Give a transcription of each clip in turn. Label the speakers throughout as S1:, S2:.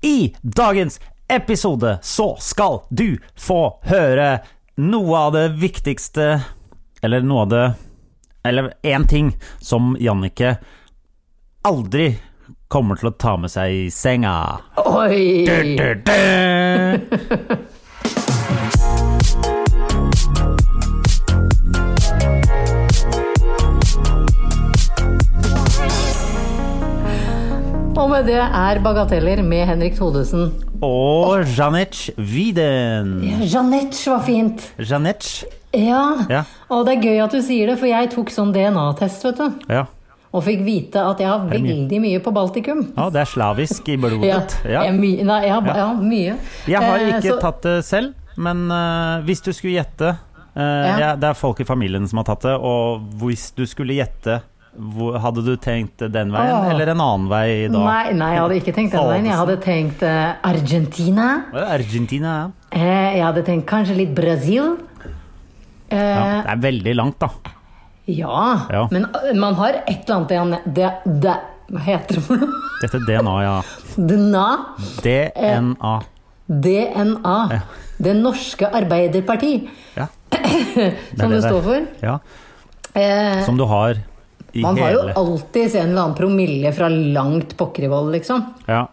S1: I dagens episode så skal du få høre noe av det viktigste Eller noe av det Eller én ting som Jannicke aldri kommer til å ta med seg i senga.
S2: Oi!
S1: Du-du-du!
S2: Og med det er Bagateller med Henrik Thodesen.
S1: Og Janec Widen.
S2: Janetsj var fint.
S1: Janec.
S2: Ja.
S1: Ja.
S2: Og det er gøy at du sier det, for jeg tok sånn DNA-test, vet du.
S1: Ja.
S2: Og fikk vite at jeg har
S1: det mye?
S2: veldig mye på Baltikum.
S1: ja, det er slavisk i blodet.
S2: Ja,
S1: Ja.
S2: jeg, my, nei, jeg, har, ja. mye.
S1: Jeg har
S2: Eh,
S1: ikke
S2: så-
S1: tatt det selv, men eh, hvis du skulle gjette eh,
S2: Ja.
S1: jeg- Det er folk i familien som har tatt det, og hvis du skulle gjette hvor, Hadde du tenkt den veien
S2: Åh.
S1: eller en annen vei da?
S2: Nei, nei, jeg hadde ikke tenkt den veien. Jeg hadde tenkt eh, Argentina.
S1: Var det Argentina, ja.
S2: Eh, jeg hadde tenkt kanskje litt Brasil.
S1: ja.
S2: Eh,
S1: Det er veldig langt, da.
S2: ja.
S1: Ja.
S2: men eh, man har et eller annet det, det, det Hva heter det for noe?
S1: Dette DNA, ja.
S2: DNA.
S1: DNA.
S2: DNA. Det norske Arbeiderparti,
S1: Ja.
S2: som
S1: det
S2: det,
S1: der.
S2: står for.
S1: ja.
S2: Eh,
S1: Som du har i
S2: man har jo
S1: hele
S2: alltid en eller annen promille fra langt Pokkervoll, liksom.
S1: Ja.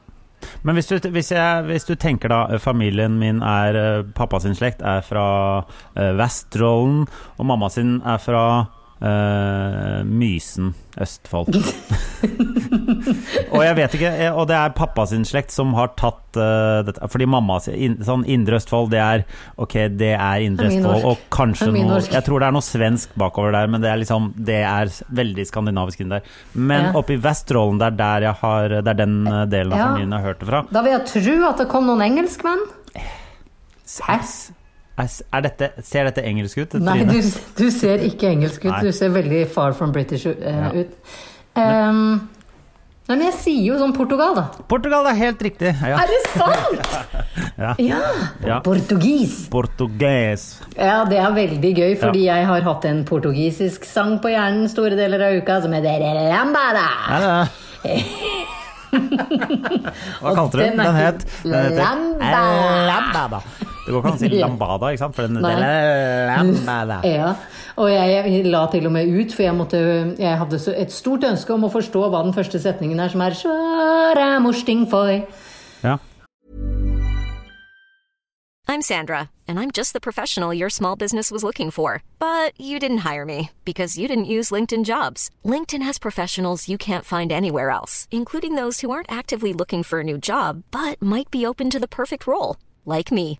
S1: Men hvis du, hvis, jeg, hvis du tenker da eh, familien min er eh, Pappa sin slekt er fra eh, Vesterålen, og mamma sin er fra eh, Mysen, Østfold. og jeg vet ikke eh, Og det er pappa sin slekt som har tatt eh, dette Fordi mamma sin in, Sånn Indre Østfold, det er Ok, det er Indre
S2: Det er mye
S1: Østfold,
S2: norsk.
S1: og kanskje
S2: Det er mye
S1: noe
S2: norsk.
S1: Jeg tror det er noe svensk bakover der, men det er liksom Det er s- veldig skandinavisk inn der. Men
S2: Ja.
S1: oppe i Vesterålen, det er der jeg har Det er den eh, delen av
S2: Ja.
S1: familien jeg har hørt det fra.
S2: Da vil jeg tro at det kom noen engelskmenn. Hæ?
S1: Er, er dette, ser dette engelsk ut?
S2: Nei,
S1: Trine?
S2: du, du ser ikke engelsk ut.
S1: Nei.
S2: Du ser veldig far from British eh,
S1: Ja.
S2: ut. Ehm, nei, men jeg sier jo sånn Portugal, da.
S1: Portugal er helt riktig. Ja.
S2: Er det sant?!
S1: Ja. Ja.
S2: Portugis.
S1: Portugues.
S2: Ja, det er veldig gøy, fordi jeg har hatt en portugisisk sang på hjernen store deler av uka som heter Lambada.
S1: Er det det? Hva kalte du den? Den het den heter- Eh,
S2: Lambada.
S1: Lambada. Det går ikke an å si lambada, ikke sant? For den,
S2: Nei.
S1: den er lambada.
S2: Ja, og jeg la til og med ut, for jeg, måtte, jeg hadde så- et stort ønske om å forstå hva den første setningen er, som er «Svara morsting foi».
S1: Ja.
S3: I'm Sandra, and I'm just the professional your small business was looking for. But you didn't hire me because you didn't use LinkedIn jobs. LinkedIn has professionals you can't find anywhere else, including those who aren't actively looking for a new job but might be open to the perfect role, like me.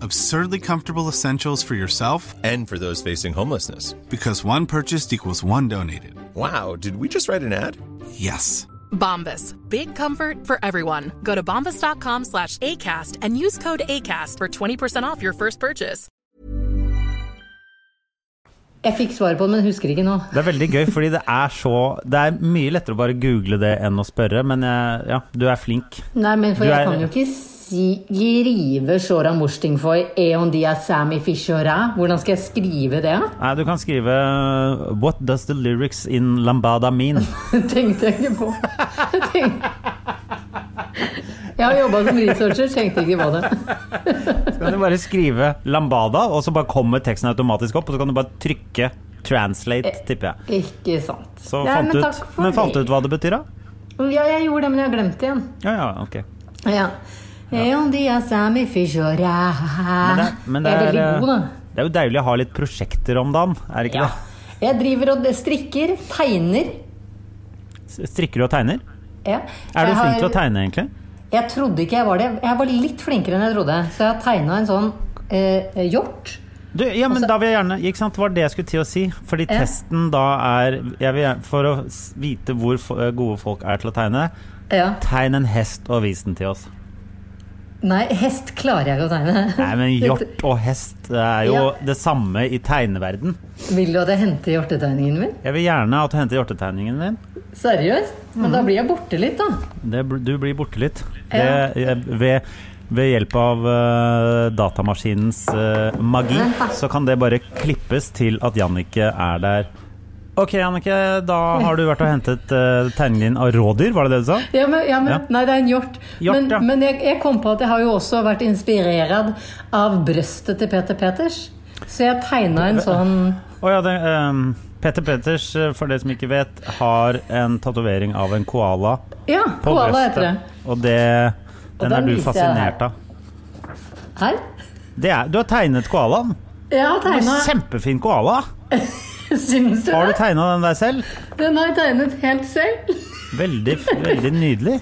S4: Absurdly comfortable essentials for yourself
S5: And for those facing homelessness.
S4: because one purchased equals one donated.
S5: Wow, did we just write an ad?
S4: Yes.
S6: Bombas. Big comfort for everyone. Go to bombas.com slash ACAST and use code ACAST for 20% off your first purchase.
S2: Jeg fikk svar på det, men husker ikke nå.
S1: Det er veldig gøy, fordi det er så Det er mye lettere å bare google det enn å spørre, men jeg, ja, du er flink.
S2: Nei, men for
S1: Du er-
S2: jeg kan jo ikke si «Rive sjåra morsting foi, eon dia sami fishora». Hvordan skal jeg skrive det?
S1: Nei, du kan skrive uh, What does the lyrics in lambada mean?
S2: Det tenkte jeg ikke på. Jeg tenkte- Jeg har jobba som researcher, tenkte ikke på det.
S1: Så kan du bare skrive lambada, og så bare kommer teksten automatisk opp, og så kan du bare trykke translate, tipper jeg.
S2: Ikke sant.
S1: Så
S2: Nei,
S1: fant
S2: Eh. men
S1: du ut,
S2: takk for
S1: men fant
S2: det.
S1: du ut hva det betyr, da?
S2: Ja, jeg gjorde det, men jeg har glemt det igjen.
S1: Ja, ja, ok.
S2: Ja. Ja. de er Sammy Fish og ræ.
S1: Men det, men det,
S2: Ah, jeg er
S1: er,
S2: veldig god, da.
S1: eh, det er jo deilig å ha litt prosjekter om dagen, er det ikke
S2: Ja. Jeg driver og strikker, tegner.
S1: det? S- Strikker du og tegner?
S2: Ja.
S1: Er du
S2: Jeg har-
S1: flink til å tegne, egentlig?
S2: Jeg trodde ikke jeg var det. Jeg var litt flinkere enn jeg trodde. Så jeg har tegna en sånn eh, hjort.
S1: Du, ja, men da vil jeg gjerne Ikke sant, det var det jeg skulle til å si. Fordi
S2: Ja.
S1: testen da er jeg vil, gjerne- For å s- vite hvor fo- gode folk er til å tegne,
S2: Ja.
S1: tegn en hest og vis den til oss.
S2: Nei, hest klarer jeg ikke å tegne.
S1: Nei, men hjort og hest det er jo
S2: Ja.
S1: det samme i tegneverden.
S2: Vil du at jeg henter hjortetegningen min?
S1: Jeg vil gjerne at du henter hjortetegningen min.
S2: Seriøst? Men
S1: Mhm.
S2: da blir jeg borte litt, da.
S1: Det, bl- du blir borte litt. Det,
S2: Ja.
S1: jeg- ved, ved hjelp av eh, datamaskinens eh, magi
S2: Vent da.
S1: så kan det bare klippes til at Jannicke er der. Ok, Jannicke, da har du vært og hentet eh, tegningen din av rådyr, var det det du sa?
S2: Ja, men, ja, men,
S1: Ja.
S2: Nei, det er en hjort.
S1: Hjort,
S2: men
S1: ja.
S2: men jeg, jeg kom på at jeg har jo også vært inspirert av brøstet til Peter Peters. Så jeg tegna en sånn
S1: Å ja, det, ehm, Petter Peters, eh, for dere som ikke vet, har en tatovering av en koala
S2: Ja,
S1: på
S2: koala
S1: brøstet.
S2: heter det.
S1: Og det, den
S2: den
S1: er du
S2: viser jeg
S1: fascinert
S2: her.
S1: av.
S2: Her.
S1: Det er, du har tegnet koalaen.
S2: Jeg har tegna
S1: Kjempefin koala.
S2: Syns du
S1: Har du
S2: det?
S1: tegna den der selv?
S2: Den har jeg tegnet helt selv.
S1: Veldig, veldig nydelig.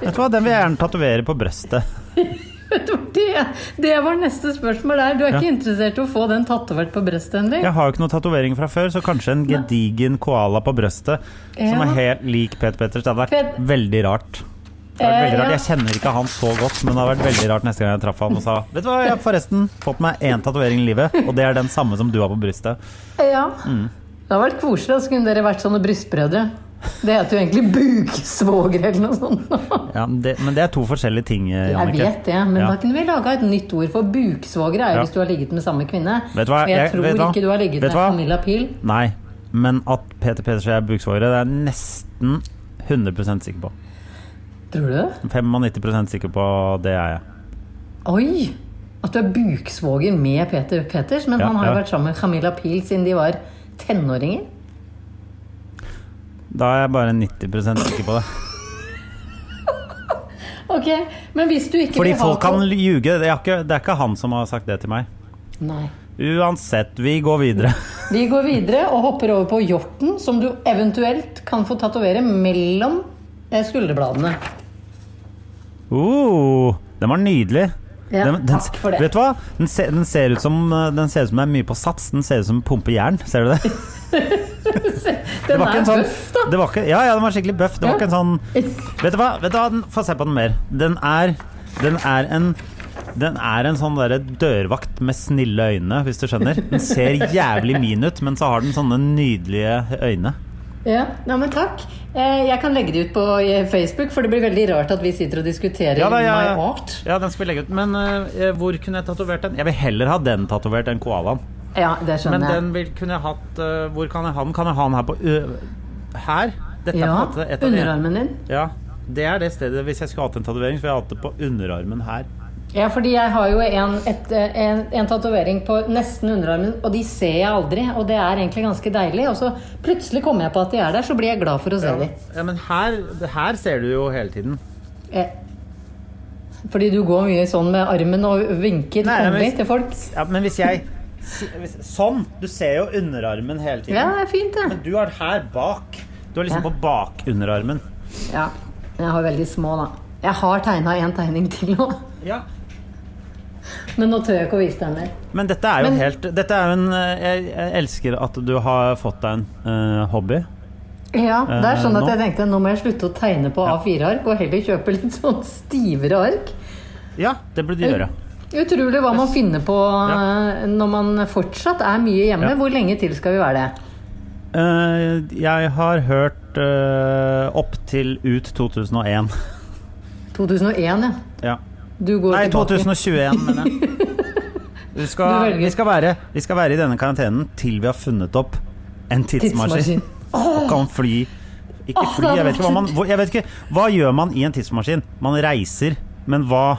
S1: Vet du hva, Den vil jeg gjerne tatovere på brøstet.
S2: Vet du hvor Det, det var neste spørsmål der. Du er ikke interessert i å få den tatovert på brøstet, Henrik?
S1: Jeg har jo ikke noen tatovering fra før, så kanskje en gedigen koala på brøstet som
S2: Ja.
S1: er helt lik Peter Petters. Det hadde vært
S2: Pet-
S1: veldig rart. Det hadde vært
S2: Eh,
S1: veldig rart.
S2: ja.
S1: Jeg kjenner ikke han så godt, men det hadde vært veldig rart neste gang jeg traff han og sa Vet du hva, jeg har forresten fått meg én tatovering i livet, og det er den samme som du har på brystet.
S2: Ja.
S1: Mm.
S2: Det hadde vært koselig, da så kunne dere vært sånne brystbrødre. Det heter jo egentlig buksvogere eller noe sånt.
S1: Ja, det, men det er to forskjellige ting,
S2: Jeg
S1: Jannicke.
S2: vet det, men
S1: Ja.
S2: da kunne vi laga et nytt ord for buksvogere er jo
S1: Ja.
S2: hvis du har ligget med samme kvinne.
S1: Vet du hva?
S2: Og jeg,
S1: Jeg-
S2: tror
S1: vet du hva?
S2: ikke du har ligget
S1: Vet
S2: med
S1: du hva?
S2: Camilla Pil.
S1: Nei, men at Peter Petters og jeg er buksvogere, det er jeg nesten 100 sikker på.
S2: Tror du det?
S1: 95 sikker på det er jeg.
S2: Oi! At du er buksvoger med Peter Peters, men
S1: Ja,
S2: han har jo
S1: ja.
S2: vært sammen med Camilla Pil siden de var tenåringer.
S1: Da er jeg bare 90 sikker på det.
S2: Ok, men hvis du ikke
S1: Fordi
S2: vil ha
S1: folk kan
S2: to-
S1: ljuge. Det er, ikke, det er ikke han som har sagt det til meg.
S2: Nei.
S1: Uansett, vi går videre.
S2: Vi går videre og hopper over på hjorten, som du eventuelt kan få tatovere mellom eh, skulderbladene.
S1: Uh, den var nydelig.
S2: Ja, takk for det.
S1: Vet du hva? Den, se, den, ser ut som, eh, den ser ut som det er mye på sats. Den ser ut som pumpejern. Ser du det?
S2: Den
S1: var ikke
S2: er
S1: en sånn,
S2: bøff, da.
S1: det var ikke, ja, ja, den var skikkelig bøff. Det var
S2: Ja.
S1: ikke en sånn Vet du hva, Vet du hva? Den, få se på den mer. Den er, den er en den er en sånn derre dørvakt med snille øyne, hvis du skjønner. Den ser jævlig min ut, men så har den sånne nydelige øyne.
S2: Ja, nei, men takk. Eh, Jeg kan legge det ut på eh, Facebook, for det blir veldig rart at vi sitter og diskuterer
S1: da, ja,
S2: my
S1: ja.
S2: art.
S1: ja, den skal vi legge ut. Men eh, hvor kunne jeg tatovert den? Jeg vil heller ha den tatovert enn koalaen.
S2: Ja, det
S1: Men
S2: skjønner jeg.
S1: den vil, kunne jeg hatt eh, Hvor kan jeg ha den? Kan jeg ha den her på ø Her? Dette
S2: Ja,
S1: på en måte et av de-
S2: underarmen din.
S1: Ja, det er det stedet Hvis jeg skulle hatt en tatovering, så ville jeg hatt det på underarmen her.
S2: Ja, fordi jeg har jo en, et, eh, en, en tatovering på nesten underarmen, og de ser jeg aldri. Og det er egentlig ganske deilig. Og så plutselig kommer jeg på at de er der, så blir jeg glad for å se dem.
S1: Ja, men her, det her ser du jo hele tiden.
S2: Eh, Fordi du går mye sånn med armen og vinker
S1: Nei, men-
S2: kongelig til folk.
S1: Ja, men hvis jeg si- hvis, Sånn! Du ser jo underarmen hele tiden.
S2: Ja, det er fint, det.
S1: Men du har her bak. Du er liksom
S2: Ja.
S1: på bakunderarmen.
S2: Ja. Jeg har veldig små, da. Jeg har tegna en tegning til nå,
S1: Ja.
S2: men nå tør jeg ikke å vise den mer.
S1: Men dette er jo
S2: Men-
S1: helt dette er jo en, eh, jeg, jeg elsker at du har fått deg en eh, hobby.
S2: Ja, det er
S1: Eh,
S2: sånn at
S1: nå?
S2: jeg tenkte nå må jeg slutte å tegne på A4-ark, og heller kjøpe litt sånn stivere ark.
S1: Ja, det burde du gjøre.
S2: Utrolig hva man finner på
S1: Ja.
S2: eh, når man fortsatt er mye hjemme.
S1: Ja.
S2: Hvor lenge til skal vi være det?
S1: Eh, jeg har hørt eh, opp til ut 2001.
S2: 2001, ja.
S1: Ja.
S2: Du går
S1: Nei,
S2: tilbake.
S1: 2021, mener jeg. Vi
S2: Du
S1: skal,
S2: velger.
S1: vi, skal være, vi skal være i denne karantenen til vi har funnet opp en tidsmaskin.
S2: Tidsmaskin.
S1: Og kan fly. Ikke
S2: Åh,
S1: fly, jeg
S2: det hadde
S1: vet ikke hva
S2: vært
S1: man hvor- jeg vet ikke, Hva gjør man i en tidsmaskin? Man reiser, men hva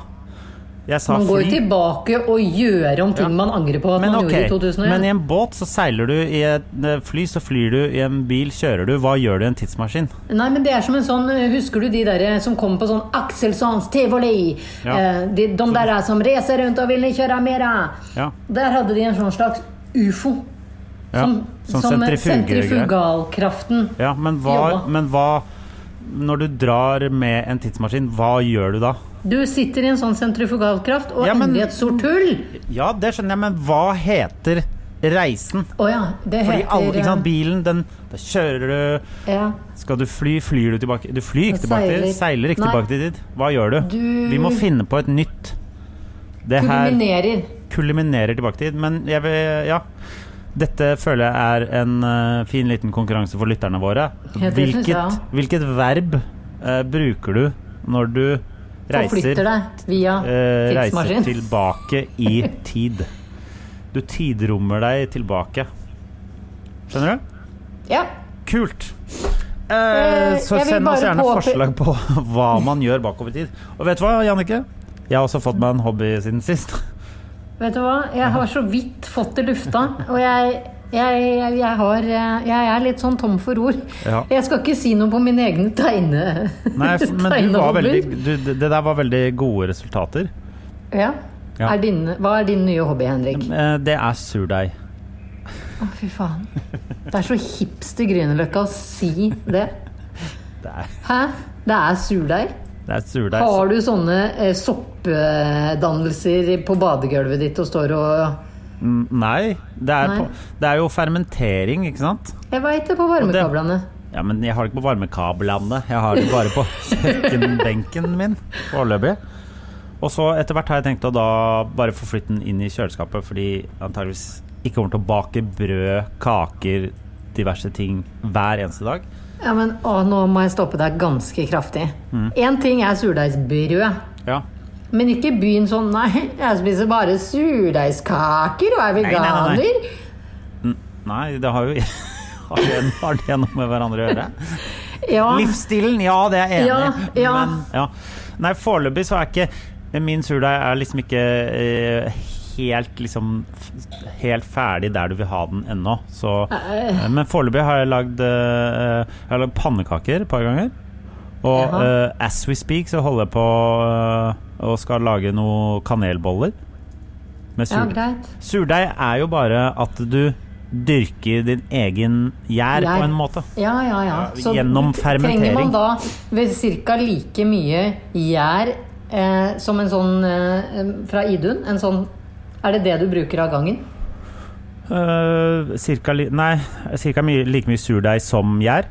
S1: Jeg sa
S2: Man går
S1: fly.
S2: jo tilbake og gjør om ting man angrer på at
S1: Men
S2: man
S1: ok,
S2: gjorde i 2001.
S1: men i en båt så seiler du, i et eh, fly så flyr du, i en bil kjører du. Hva gjør du i en tidsmaskin?
S2: Nei, men det er som en sånn Husker du de der som kommer på sånn Axelssons tivoli?
S1: Ja.
S2: Eh, de, de der som reiser rundt og vil kjøre mer.
S1: Ja.
S2: Der hadde de en sånn slags ufo.
S1: Ja,
S2: Som,
S1: sånn
S2: som eh,
S1: sentrifugegreier.
S2: sentrifugalkraften.
S1: Ja, men hva,
S2: Jobba.
S1: men hva Når du drar med en tidsmaskin, hva gjør du da?
S2: Du sitter i en sånn sentrifugalkraft og
S1: Ja, men-
S2: ender i et sort hull.
S1: Ja, det skjønner jeg, men hva heter reisen?
S2: Å ja, det
S1: Fordi
S2: heter
S1: alle, ikke sant,
S2: eh,
S1: bilen, den da kjører du
S2: ja.
S1: Skal du fly, flyr du tilbake Du flyr ikke
S2: Jeg
S1: tilbake til
S2: seiler.
S1: Seiler ikke
S2: Nei.
S1: tilbake til dit. Hva gjør du?
S2: Du-
S1: Vi må finne på et nytt. Det her
S2: Kulminerer.
S1: kulminerer tilbake til dit, men jeg vil Ja. Dette føler jeg er en eh, fin liten konkurranse for lytterne våre.
S2: Helt riktig,
S1: Hvilket,
S2: ja.
S1: hvilket verb eh, bruker du når du reiser
S2: Forflytter deg via
S1: eh, reiser
S2: tidsmaskin.
S1: tilbake i tid. Du tidrommer deg tilbake. Skjønner du?
S2: Ja.
S1: Kult! Eh,
S2: Eh,
S1: så
S2: jeg vil
S1: send oss
S2: bare
S1: gjerne
S2: påpe-
S1: forslag på hva man gjør bakover i tid. Og vet du hva, Jannicke? Jeg har også fått meg en hobby siden sist.
S2: Vet du hva? Jeg har så vidt fått det lufta. Og jeg, jeg, jeg, jeg, har, eh, jeg er litt sånn tom for ord.
S1: Ja.
S2: Jeg skal ikke si noe på mine egne tegne...
S1: Nei, f- men du var
S2: tegnehobber.
S1: veldig, du, det det der var veldig gode resultater.
S2: ja.
S1: Ja.
S2: Er din, hva er din nye hobby, Henrik?
S1: Eh, Det er surdeig.
S2: Å, fy faen. Det er så hipster Grünerløkka å si det.
S1: Det er,
S2: Hæ? Det er surdeig?
S1: det er surdeig.
S2: Har du sånne eh, soppdannelser på badegulvet ditt og står og
S1: Mm, Nei, det er,
S2: Nei.
S1: På, det er jo fermentering, ikke sant?
S2: Jeg veit det på varmekablene.
S1: Ja, men jeg har det ikke på varmekablene. Jeg har det bare på kjøkkenbenken min foreløpig. Og så etter hvert har jeg tenkt å da bare få flytte den inn i kjøleskapet, fordi jeg antageligvis ikke kommer til å bake brød, kaker, diverse ting hver eneste dag.
S2: Ja, men å, nå må jeg stoppe deg ganske kraftig. Én ting er surdeigsbrød.
S1: Ja.
S2: Men ikke begynn sånn Nei, jeg spiser bare surdeigskaker og er
S1: nei,
S2: veganer.
S1: nei, nei. Nei, det har jo har det, har det noe med hverandre å gjøre?
S2: Ja,
S1: Livsstilen, ja, det er jeg
S2: Ja,
S1: enig i.
S2: ja.
S1: Men ja. Nei, foreløpig så er ikke Min surdeig er liksom ikke eh, helt liksom f- Helt ferdig der du vil ha den ennå. Så eh, Men foreløpig har jeg lagd eh, Jeg har lagd pannekaker et par ganger. Og
S2: Jaha.
S1: eh, as we speak så holder jeg på eh, og skal lage noen kanelboller. Med
S2: ja
S1: surdeig.
S2: greit.
S1: Surdeig er jo bare at du dyrker din egen gjær
S2: Gjær.
S1: på en måte.
S2: Ja, ja, ja.
S1: gjennom
S2: trenger
S1: fermentering.
S2: man da ved ca. like mye gjær eh, som en sånn eh, fra Idun? En sånn Er det det du bruker av gangen?
S1: Eh, cirka, li nei, cirka mye, like mye surdeig som gjær.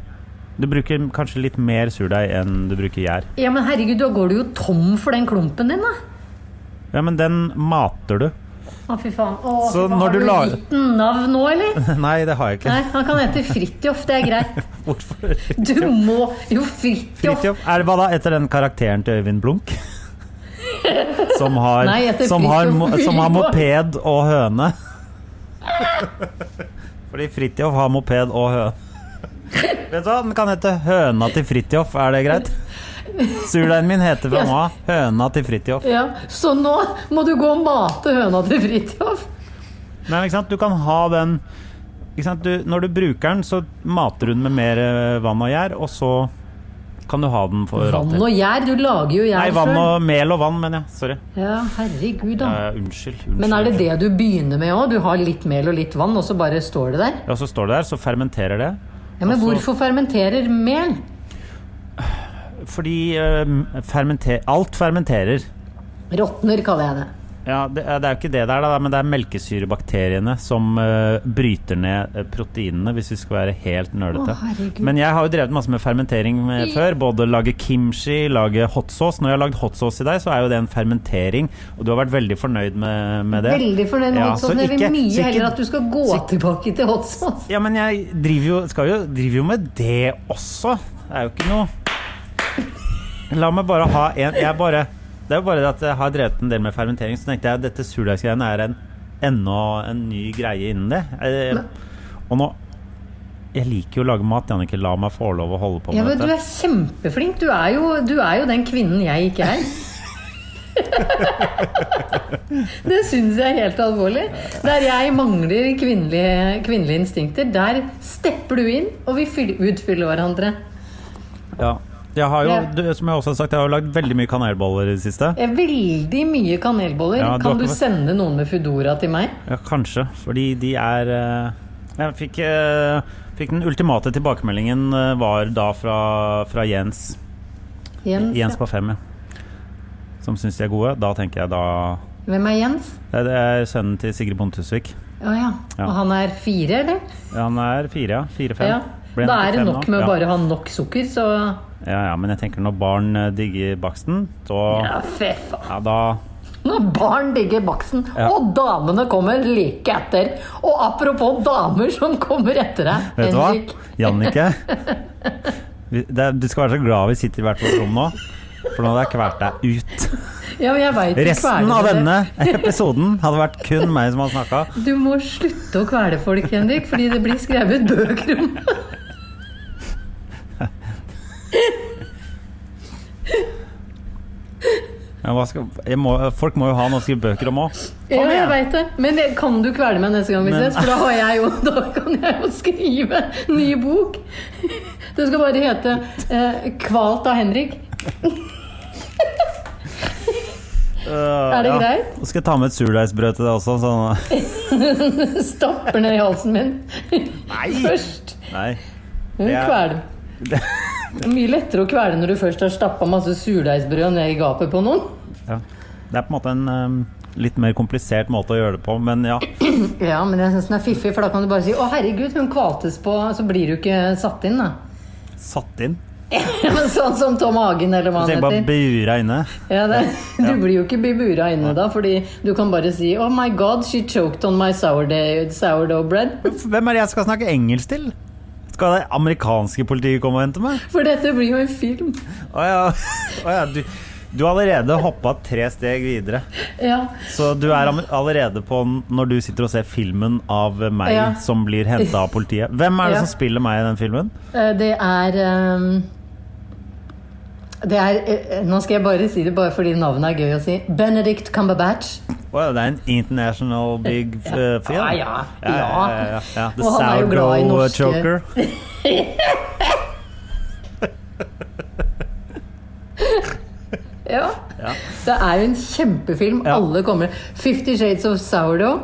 S1: Du bruker kanskje litt mer surdeig enn du bruker gjær.
S2: Ja, men herregud, da går du jo tom for den klumpen din, da.
S1: Ja, men den mater du.
S2: Å, fy faen. Å,
S1: Så
S2: fy faen.
S1: når
S2: Har
S1: du
S2: du
S1: la-
S2: gitt den navn nå, eller?
S1: Nei, det har jeg ikke.
S2: Nei, han kan hete Fridtjof, det er greit.
S1: Hvorfor?
S2: Du må jo Fridtjof!
S1: Fridtjof. Er det hva da? Etter den karakteren til Øyvind Blunk? Som har,
S2: Nei, etter
S1: som har,
S2: Fridtjof
S1: mo-
S2: Wilhelm.
S1: som har moped og høne. Fordi Fridtjof har moped og høne. Vet du hva, den kan hete Høna til Fridtjof, er det greit? Surdeigen min heter fra nå av Høna til Fridtjof.
S2: Ja, så nå må du gå og mate høna til Fridtjof.
S1: Men ikke sant, du kan ha den ikke sant? Du, Når du bruker den, så mater du den med mer eh, vann og gjær, og så kan du ha den for
S2: Vann
S1: alltid.
S2: og gjær, du lager jo
S1: Nei,
S2: gjær
S1: vann
S2: sjøl.
S1: og mel og vann, mener jeg. Sorry.
S2: Ja, herregud, da.
S1: Eh, unnskyld, unnskyld.
S2: Men er det det du begynner med òg? Du har litt mel og litt vann, og så bare står det der?
S1: Ja, så står det der, så fermenterer det.
S2: Ja, Men
S1: Og så-
S2: hvorfor fermenterer mel?
S1: Fordi eh, fermenter, alt fermenterer.
S2: Råtner, kaller jeg det.
S1: Ja, det, er- det er jo ikke det der, da, men det er melkesyrebakteriene som eh, bryter ned eh, proteinene, hvis vi skal være helt nølete.
S2: Å, herregud.
S1: men jeg har jo drevet masse med fermentering eh, før. Både lage kimchi, lage hot sauce. Når jeg har lagd hot sauce i deg, så er jo det en fermentering, og du har vært veldig fornøyd med, med det.
S2: Veldig fornøyd med
S1: Ja,
S2: hot
S1: så
S2: sauce. Jeg vil
S1: ikke- så
S2: mye
S1: ikke-
S2: heller at du skal gå tilbake til hot sauce.
S1: Ja, men jeg driver jo, skal jo, driver jo med det også. Det er jo ikke noe La meg bare ha en jeg bare, Det er jo bare det at jeg har drevet en del med fermentering, så tenkte jeg at dette surdeigsgreiene er en enda en ny greie innen det. Eh, Og nå Jeg liker jo å lage mat, Jannicke. La meg få lov å holde på
S2: Ja,
S1: med
S2: men Du
S1: dette.
S2: er kjempeflink. Du er jo, du er jo den kvinnen jeg ikke er. Det syns jeg er helt alvorlig. Der jeg mangler kvinnelige, kvinnelige instinkter, der stepper du inn, og vi fyll- utfyller hverandre.
S1: Ja. Jeg har jo,
S2: Ja.
S1: du, som jeg også har sagt, jeg har jo lagd veldig mye kanelboller i det siste.
S2: Det er Veldig mye kanelboller.
S1: Ja, du har
S2: kan du
S1: ikke-
S2: sende noen med Foodora til meg?
S1: Ja, kanskje, fordi de er eh, Jeg fikk, eh, fikk den ultimate tilbakemeldingen eh, var da fra, fra Jens.
S2: Jens,
S1: Jens
S2: ja.
S1: på fem, ja. Som syns de er gode. Da tenker jeg da
S2: Hvem er Jens?
S1: Nei, Det er sønnen til Sigrid Bonde Tusvik.
S2: Å ja.
S1: Ja.
S2: Og han er fire, eller?
S1: Han er fire, ja. Fire-fem.
S2: Ja.
S1: Blir
S2: Da
S1: han
S2: er det
S1: fem
S2: nok
S1: nå?
S2: med
S1: ja.
S2: å bare ha nok sukker, så
S1: ja, ja, men jeg tenker når barn eh, digger baksten, så ja.
S2: Ja, fy faen.
S1: da
S2: Når barn digger baksten,
S1: Ja.
S2: og damene kommer like etter. Og apropos damer som kommer etter deg,
S1: Vet du hva?
S2: Henrik.
S1: Jannicke. vi- det er- Du skal være så glad vi sitter i hvert vårt rom nå, for nå hadde jeg kvært deg ut.
S2: Ja, men jeg vet du
S1: Resten
S2: kveler
S1: av
S2: det.
S1: denne episoden hadde vært kun meg som hadde snakka.
S2: Du må slutte å kvele folk, Henrik, fordi det blir skrevet bøker om det.
S1: Ja, hva skal- jeg må- folk må jo ha noe å skrive bøker om òg.
S2: Ja, jeg vet det. Men det, kan du kvele meg neste gang vi ses? For da, har jeg jo, da kan jeg jo skrive ny bok. Det skal bare hete eh, 'Kvalt av Henrik'. Er det greit?
S1: Eh, Skal jeg ta med et surdeigsbrød til deg også? Sånn,
S2: Stapper ned i halsen min først.
S1: nei.
S2: Hun
S1: Det er-
S2: kveler. Mm, Det er mye lettere å kvele når du først har stappa masse surdeigsbrød ned i gapet på noen.
S1: Ja. Det er på en måte en ehm, litt mer komplisert måte å gjøre det på, men ja.
S2: Ja, men jeg syns den er fiffig, for da kan du bare si 'Å, herregud, hun kvaltes på', så blir du ikke satt inn, da.
S1: Satt inn.
S2: Men sånn som Tom Hagen, eller hva
S1: Så jeg
S2: han
S1: bare
S2: heter.
S1: bura inne.
S2: Ja, det, du blir jo ikke bebura inne da, fordi du kan bare si Oh my god, she choked on my sourdough, sourdough bread.
S1: Hvem er det jeg skal snakke engelsk til? Skal det amerikanske politiet komme og hente meg?
S2: For dette blir jo en film.
S1: Å ja. Å ja. Du, du har allerede hoppa tre steg videre.
S2: Ja.
S1: Så du er am- allerede på n- når du sitter og ser filmen av meg
S2: Ja.
S1: som blir henta av politiet. Hvem er det
S2: Ja.
S1: som spiller meg i den filmen?
S2: Eh, Det er ehm, Det er eh, Nå skal jeg bare si det bare fordi navnet er gøy å si. Benedict Cumberbatch.
S1: Å ja, det er en international big f- eh, film.
S2: Ja, ja,
S1: ja, ja, ja, ja, ja. The
S2: Og han er jo glad i
S1: Sourdough eh,
S2: norske-
S1: Choker.
S2: Ja. Det er jo en kjempefilm.
S1: Ja.
S2: Alle kommer. Fifty Shades of Sourdough.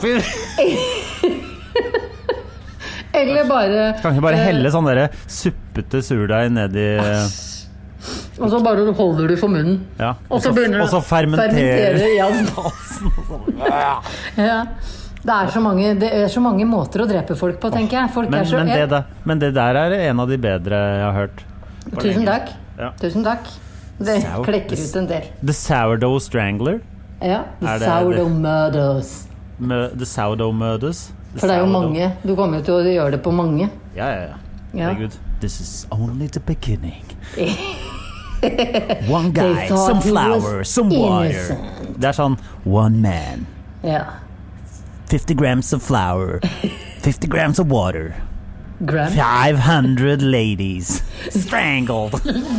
S2: Eller bare
S1: Kan ikke bare helle sånn derre suppete surdeig nedi
S2: eh, Og så bare holder du for munnen.
S1: eh, ja.
S2: Og så begynner du
S1: og så
S2: å
S1: fermentere
S2: fermentere
S1: sånn.
S2: igjen. ja. Det er, så mange, det er så mange måter å drepe folk på, tenker jeg. Folk
S1: men,
S2: er så
S1: men, det, der- men det der er en av de bedre jeg har hørt. på
S2: Tusen
S1: lenge.
S2: takk.
S1: Ja.
S2: Tusen takk. Det
S1: Sau-
S2: klekker ut en del.
S1: The Sourdough Strangler.
S2: Ja. The
S1: Er det-
S2: Sourdough Murders.
S1: Mø- The Sourdough Murders. The
S2: For det er jo
S1: Sourdough-
S2: mange. Du kommer jo til å gjøre det på mange.
S1: Ja, ja, ja.
S2: Ja.
S1: Herregud. This is only the beginning. One guy,
S2: They thought
S1: some
S2: he was
S1: flour, some water.
S2: innocent.
S1: Det er sånn One man,
S2: Ja.
S1: 50 grams of flour, 50 grams of water,
S2: Gram.
S1: 500 ladies strangled.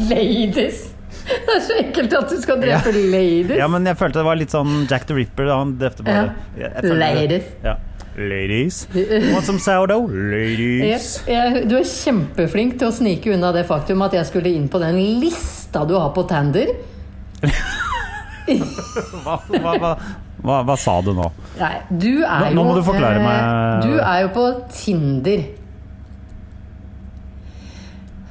S2: Ladies! Det er så ekkelt at du skal drepe ladies.
S1: ja, men jeg følte det var litt sånn Jack the Ripper da han drepte bare
S2: Ja.
S1: Jeg- jeg følte det-
S2: Ladies.
S1: Ja. Ladies. Want some sourdough? Ladies.
S2: Jeg, jeg, du er kjempeflink til å snike unna det faktum at jeg skulle inn på den lista du har på Tander.
S1: Hva, hva, hva, hva, hva sa du nå?
S2: Nei, du er
S1: Nå- nå må
S2: jo eh,
S1: du forklare meg-
S2: Du er jo på Tinder.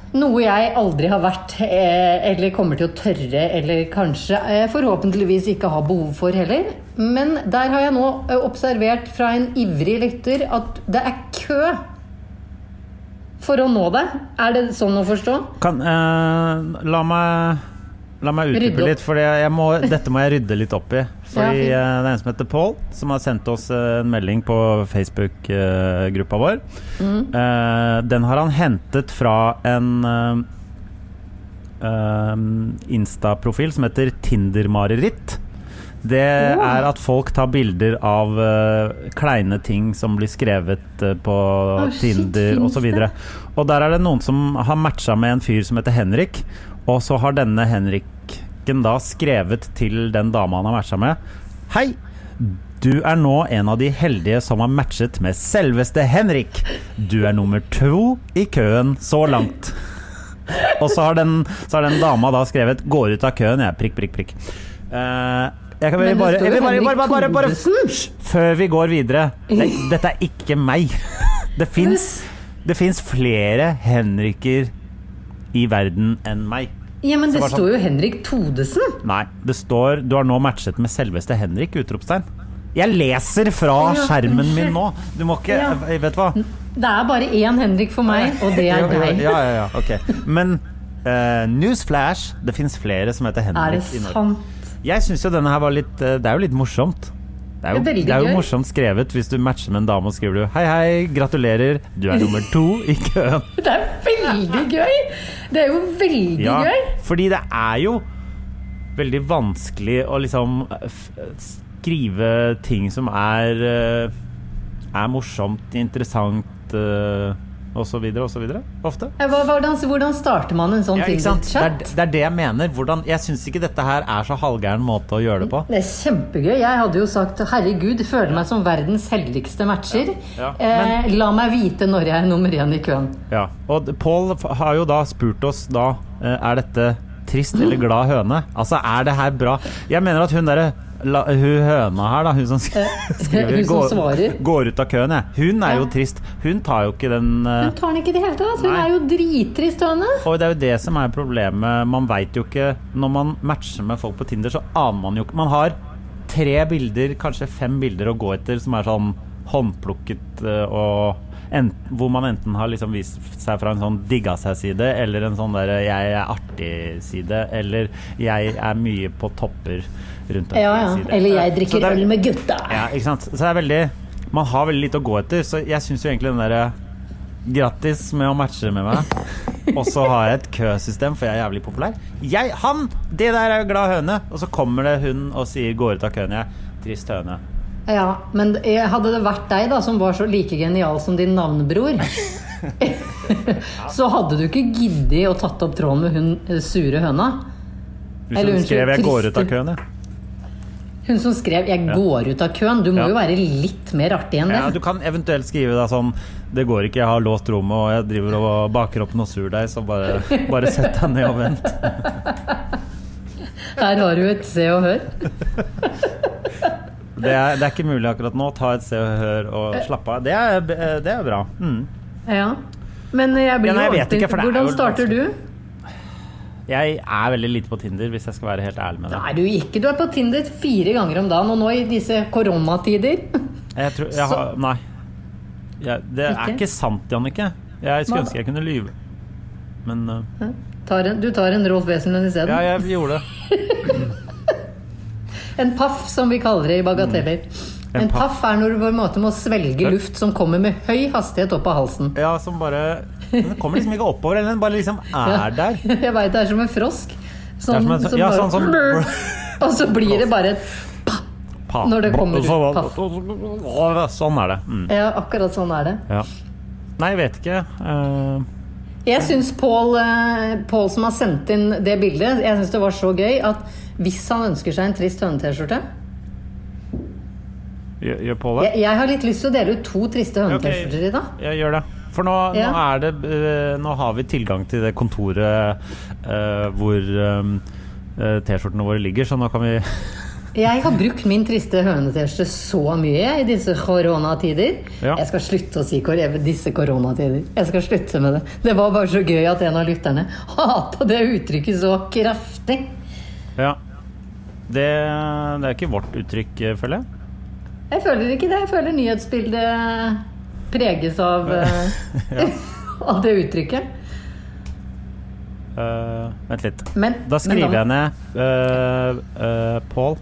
S2: Noe jeg aldri har vært, eh, eller kommer til å tørre, eller kanskje eh, forhåpentligvis ikke har behov for heller. Men der har jeg nå eh, observert fra en ivrig lytter at det er kø for å nå deg. Er det sånn å forstå?
S1: Kan, eh, la meg La meg
S2: Rydde
S1: utdype
S2: opp.
S1: litt, for jeg må, dette må jeg rydde litt opp i. Fordi
S2: fint.
S1: eh, Det er en som heter Pål, som har sendt oss eh, en melding på Facebook-gruppa vår.
S2: Mm.
S1: Eh, den har han hentet fra en eh, eh, Insta-profil som heter Tindermareritt. Det er at folk tar bilder av eh, kleine ting som blir skrevet eh, på
S2: shit,
S1: Tinder
S2: finnes
S1: osv. Og der er det noen som har matcha med en fyr som heter Henrik, og så har denne Henrik musikken da skrevet til den dama han har matcha med. Hei! Du er nå en av de heldige som har matchet med selveste Henrik. Du er nummer to i køen så langt. Og så har den, så har den dama da skrevet 'går ut av køen', jeg. Prikk, prikk, prikk. Eh, jeg kan vel
S2: Men det
S1: bare,
S2: står
S1: jeg vil
S2: jo
S1: bare,
S2: Henrik
S1: bare, bare, bare, bare
S2: Thodesen.
S1: Hysj! Før vi går videre. Det, dette er ikke meg. Det fins det fins flere Henriker i verden enn meg.
S2: Ja, men det
S1: bare sånn-
S2: står jo Henrik Todesen.
S1: Nei, det står 'Du har nå matchet med selveste Henrik!' utropstegn. Jeg leser fra
S2: Ja,
S1: skjermen min
S2: unnskyld.
S1: nå. Du må ikke
S2: Ja.
S1: jeg Vet du hva?
S2: Det er bare én Henrik for meg, og det er
S1: Jo, jo,
S2: deg.
S1: Ja, ja, ja. Ok. Men eh, newsflash, det fins flere som heter
S2: Er det
S1: Henrik i Norge.
S2: sant?
S1: Jeg syns jo denne her var litt eh, Det er jo litt morsomt. Det er jo,
S2: Det er veldig
S1: det er jo
S2: gøy.
S1: morsomt skrevet hvis du matcher med en dame og skriver du 'Hei, hei, gratulerer, du er nummer to i køen'.
S2: Det er veldig gøy! Det er jo veldig
S1: Ja,
S2: gøy.
S1: fordi det er jo veldig vanskelig å liksom eh, f- skrive ting som er eh, Er morsomt, interessant eh, og så videre og så videre. Ofte.
S2: Ja, hva- Hvordan, hvordan starter man en sånn
S1: Ja,
S2: ting
S1: ikke sant? Det, er,
S2: kjapt?
S1: det er det jeg mener. Hvordan, jeg syns ikke dette her er så halvgæren måte å gjøre det på.
S2: Det er kjempegøy. Jeg hadde jo sagt 'herregud, føler meg som verdens heldigste matcher'.
S1: Ja, ja.
S2: Eh, la meg vite når jeg er nummer én i køen.
S1: Ja. Og d- Pål f- har jo da spurt oss da eh, Er dette trist eller glad høne? Altså, er det her bra? Jeg mener at hun derre la- hun høna her, da, hun som sk- skriver
S2: Eh, hun som
S1: går-
S2: svarer.
S1: Går ut av køen, jeg. Hun er jo
S2: Ja.
S1: trist. Hun tar jo ikke den eh,
S2: Hun tar den ikke i det hele tatt. Hun
S1: Nei.
S2: er jo drittrist, høne.
S1: og det er jo det som er problemet. Man veit jo ikke Når man matcher med folk på Tinder, så aner man jo ikke Man har tre bilder, kanskje fem bilder å gå etter som er sånn håndplukket eh, og ent- hvor man enten har liksom vist seg fra en sånn digga seg-side, eller en sånn der eh, 'jeg er artig'-side, eller 'jeg er mye på topper' rundt
S2: Ja, ja.
S1: omkring-side.
S2: Eller 'jeg
S1: Så
S2: drikker
S1: det er-
S2: øl med gutta'.
S1: ja, ikke sant? Så det er veldig Man har veldig lite å gå etter, så jeg syns jo egentlig den derre Grattis med å matche med meg. Og så har jeg et køsystem, for jeg er jævlig populær. Jeg, han! Det der er jo glad høne. Og så kommer det hun og sier 'går ut av køen', jeg. Trist høne.
S2: Ja, men eh, hadde det vært deg da som var så like genial som din navnebror, så hadde du ikke giddet å tatt opp tråden med hun eh, sure høna.
S1: Hvis
S2: Eller
S1: hun
S2: unnskyld,
S1: skrev 'jeg går
S2: triste.
S1: ut av køen', jeg.
S2: Hun som skrev 'jeg går ut av køen'. Du må
S1: Ja.
S2: jo være litt mer artig enn det.
S1: Ja, du kan eventuelt skrive da sånn 'det går ikke, jeg har låst rommet og jeg driver og baker opp noe surdeig', så bare, bare sett deg ned og vent.
S2: Her har du et Se og Hør.
S1: Det er, det er ikke mulig akkurat nå. Ta et Se og Hør og slapp av. Det er, det er bra. Mm.
S2: Ja. Men jeg blir
S1: Ja, nei, jeg
S2: jo
S1: vet
S2: alltid
S1: ikke, for det er
S2: Hvordan
S1: jo
S2: starter du?
S1: Jeg er veldig lite på Tinder, hvis jeg skal være helt ærlig med
S2: Nei,
S1: deg.
S2: du ikke. Du er på Tinder fire ganger om dagen, og nå i disse koronatider
S1: Jeg tror, jeg har, nei. Jeg, det er
S2: Ikke?
S1: ikke sant, Jannicke. Jeg skulle
S2: Hva
S1: ønske jeg kunne lyve. Men uh,
S2: tar en, Du tar en Rolf Wesenlund isteden.
S1: ja, jeg gjorde det.
S2: En paff, som vi kaller det i bagateller.
S1: Mm. En
S2: En, paff er når du på en måte må svelge luft som kommer med høy hastighet opp av halsen.
S1: Ja, som bare Den kommer liksom ikke oppover, eller den bare liksom er der. Det
S2: Jeg veit det er som en frosk.
S1: er
S2: Sånn,
S1: som en, sånn- ja,
S2: bare-
S1: sånn som
S2: Og så blir det bare et
S1: Pa-
S2: Når det kommer ut,
S1: Sånn-
S2: paff.
S1: Sånn er det. Mm.
S2: Ja, akkurat sånn er det.
S1: Ja. Nei, jeg vet ikke. Uh,
S2: Jeg syns Pål eh, Pål som har sendt inn det bildet, jeg syns det var så gøy at hvis han ønsker seg en trist høne-T-skjorte
S1: gjør gjør Pål det?
S2: jeg, jeg har litt lyst til å dele ut to triste høne-T-skjorter i dag.
S1: Jeg gjør det. For nå, nå
S2: Ja.
S1: er det eh, Nå har vi tilgang til det kontoret eh, hvor eh, T-skjortene våre ligger, så nå kan vi
S2: Jeg har brukt min triste høne-T-skjorte så mye i disse koronatider.
S1: Ja.
S2: Jeg skal slutte å si kor eh, disse koronatider. Jeg skal slutte med det. Det var bare så gøy at en av lytterne hata det uttrykket så kraftig.
S1: Ja. Det, det er ikke vårt uttrykk, eh, føler jeg.
S2: Jeg føler ikke det. Jeg føler nyhetsbildet preges av, eh, av det uttrykket.
S1: Eh, vent litt.
S2: Men,
S1: Da skriver jeg
S2: men da-
S1: ned eh, eh, Pål.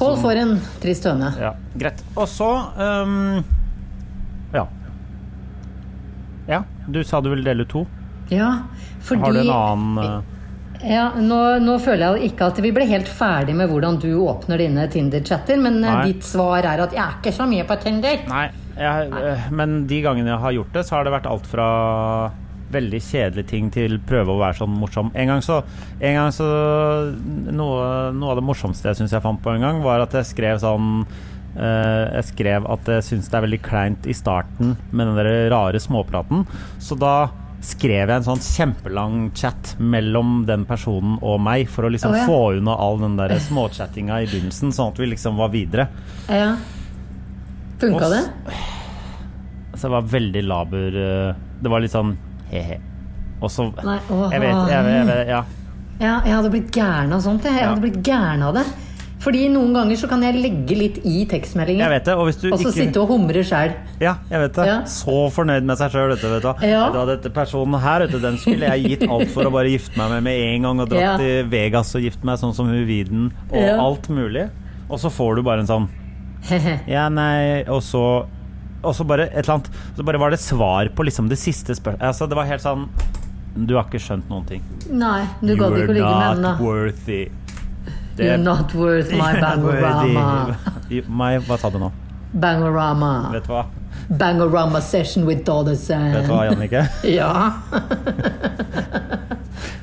S2: Pål får en trist høne.
S1: Ja, greit. Og så ehm, Ja. Ja, du sa du ville dele ut to.
S2: Ja, fordi
S1: Har du en annen eh,
S2: Ja, nå, nå føler jeg ikke at vi ble helt ferdig med hvordan du åpner dine Tinder-chatter, men eh,
S1: Nei.
S2: ditt svar er at 'jeg er ikke så mye på Tinder'.
S1: Nei, jeg, eh, men de gangene jeg har gjort det, så har det vært alt fra veldig kjedelige ting til prøve å være sånn morsom. En gang så, en gang så noe, noe av det morsomste jeg syns jeg fant på en gang, var at jeg skrev sånn eh, Jeg skrev at jeg syns det er veldig kleint i starten med den der rare småpraten. Så da skrev jeg en sånn kjempelang chat mellom den personen og meg, for å liksom
S2: Å, ja.
S1: få unna all den der småchattinga i begynnelsen, sånn at vi liksom var videre.
S2: Ja. Funka
S1: Oss-
S2: det?
S1: Så det var veldig laber eh, Det var litt sånn he-he. Og så
S2: Nei, åh.
S1: Jeg vet, jeg vet, jeg vet ja.
S2: Ja, jeg hadde blitt gæren av sånt. Jeg, jeg hadde blitt gæren av det. Fordi noen ganger så kan jeg legge litt i tekstmeldingen.
S1: Jeg vet det. Og hvis du
S2: Og så
S1: ikke
S2: sitte og humre sjæl.
S1: Ja, jeg vet det.
S2: Ja.
S1: Så fornøyd med seg sjøl, vet du. Vet du.
S2: Ja.
S1: Vet du hva, dette personen her, vet du, den skulle jeg gitt alt for å bare gifte meg med med en gang, og dratt
S2: Ja.
S1: til Vegas og gift meg sånn som hun Viden, og
S2: Ja.
S1: alt mulig. Og så får du bare en sånn Ja, nei, og så Og så bare et eller annet Så bare var det svar på liksom det siste spørsmålet. Altså, det var helt sånn Du har ikke skjønt noen ting.
S2: Nei, du gadd ikke å ligge med henne.
S1: not worthy. Det-
S2: You're not worth my
S1: You're not
S2: bangorama.
S1: worthy. My, hva sa du nå?
S2: Bangorama.
S1: Vet du hva?
S2: Bangorama session with Dollar Sand.
S1: Vet du hva, Jannicke?
S2: Ja.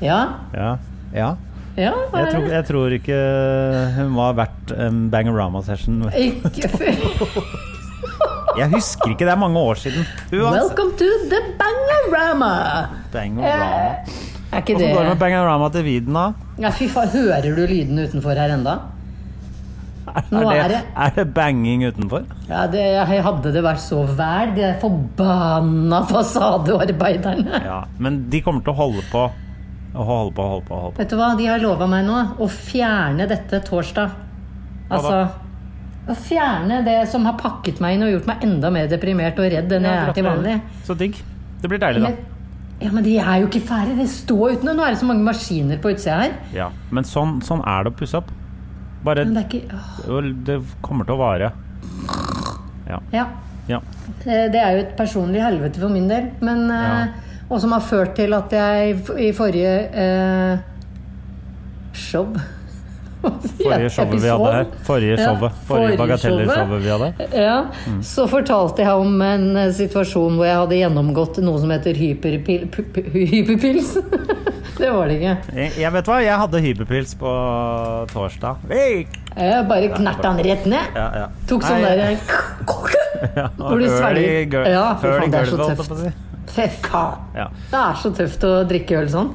S2: ja.
S1: Ja. ja.
S2: Ja,
S1: Jeg
S2: hva er
S1: tror,
S2: det?
S1: jeg tror ikke hun var verdt en Bangorama-session.
S2: Ikke før.
S1: Jeg husker ikke, det er mange år siden. Uansett.
S2: Welcome to the bangorama.
S1: Bangorama.
S2: Er ikke
S1: Hvordan
S2: det
S1: går det med Bangorama til Viden, da?
S2: Ja, fy faen. Hører du lyden utenfor her enda? Nå
S1: Er
S2: er
S1: det,
S2: det-
S1: er det banging utenfor?
S2: Ja, det, jeg hadde det vært så vel, de der forbanna fasadearbeiderne.
S1: Ja, men de kommer til å holde på og holde på holde på. holde på
S2: Vet du hva, de har lova meg nå å fjerne dette torsdag. Altså Å fjerne det som har pakket meg inn og gjort meg enda mer deprimert og redd enn jeg er til vanlig.
S1: Så digg. Det blir deilig, da.
S2: Men, ja, men de er jo ikke ferdig. Det står uten. Nå er det så mange maskiner på utsida her.
S1: Ja. Men sånn, sånn er det å pusse opp. Bare
S2: Men det er ikke åh,
S1: Det kommer til å vare.
S2: Ja.
S1: Ja.
S2: Eh, Det er jo et personlig helvete for min del. Men, eh, Og som har ført til at jeg f- i forrige eh, show
S1: Forrige showet vi hadde her. Forrige
S2: Ja,
S1: showet. Forrige
S2: forrige
S1: bagateller-showet
S2: showet.
S1: vi hadde. Mm.
S2: Ja, Så fortalte jeg om en eh, situasjon hvor jeg hadde gjennomgått noe som heter hyperpil, p- p- hyperpils. det var det ikke.
S1: Jeg, jeg vet hva, jeg hadde hyperpils på torsdag. Hey!
S2: Jeg bare knert han rett ned.
S1: Ja, ja.
S2: Tok sånn
S1: Nei,
S2: der
S1: ja,
S2: Når du
S1: høl i
S2: svelger.
S1: gøl-
S2: Ja, fy
S1: høl i
S2: faen, det er så
S1: gulvet, holdt jeg
S2: tøft.
S1: på å si.
S2: Fy faen.
S1: Ja.
S2: Det er så tøft å drikke øl sånn.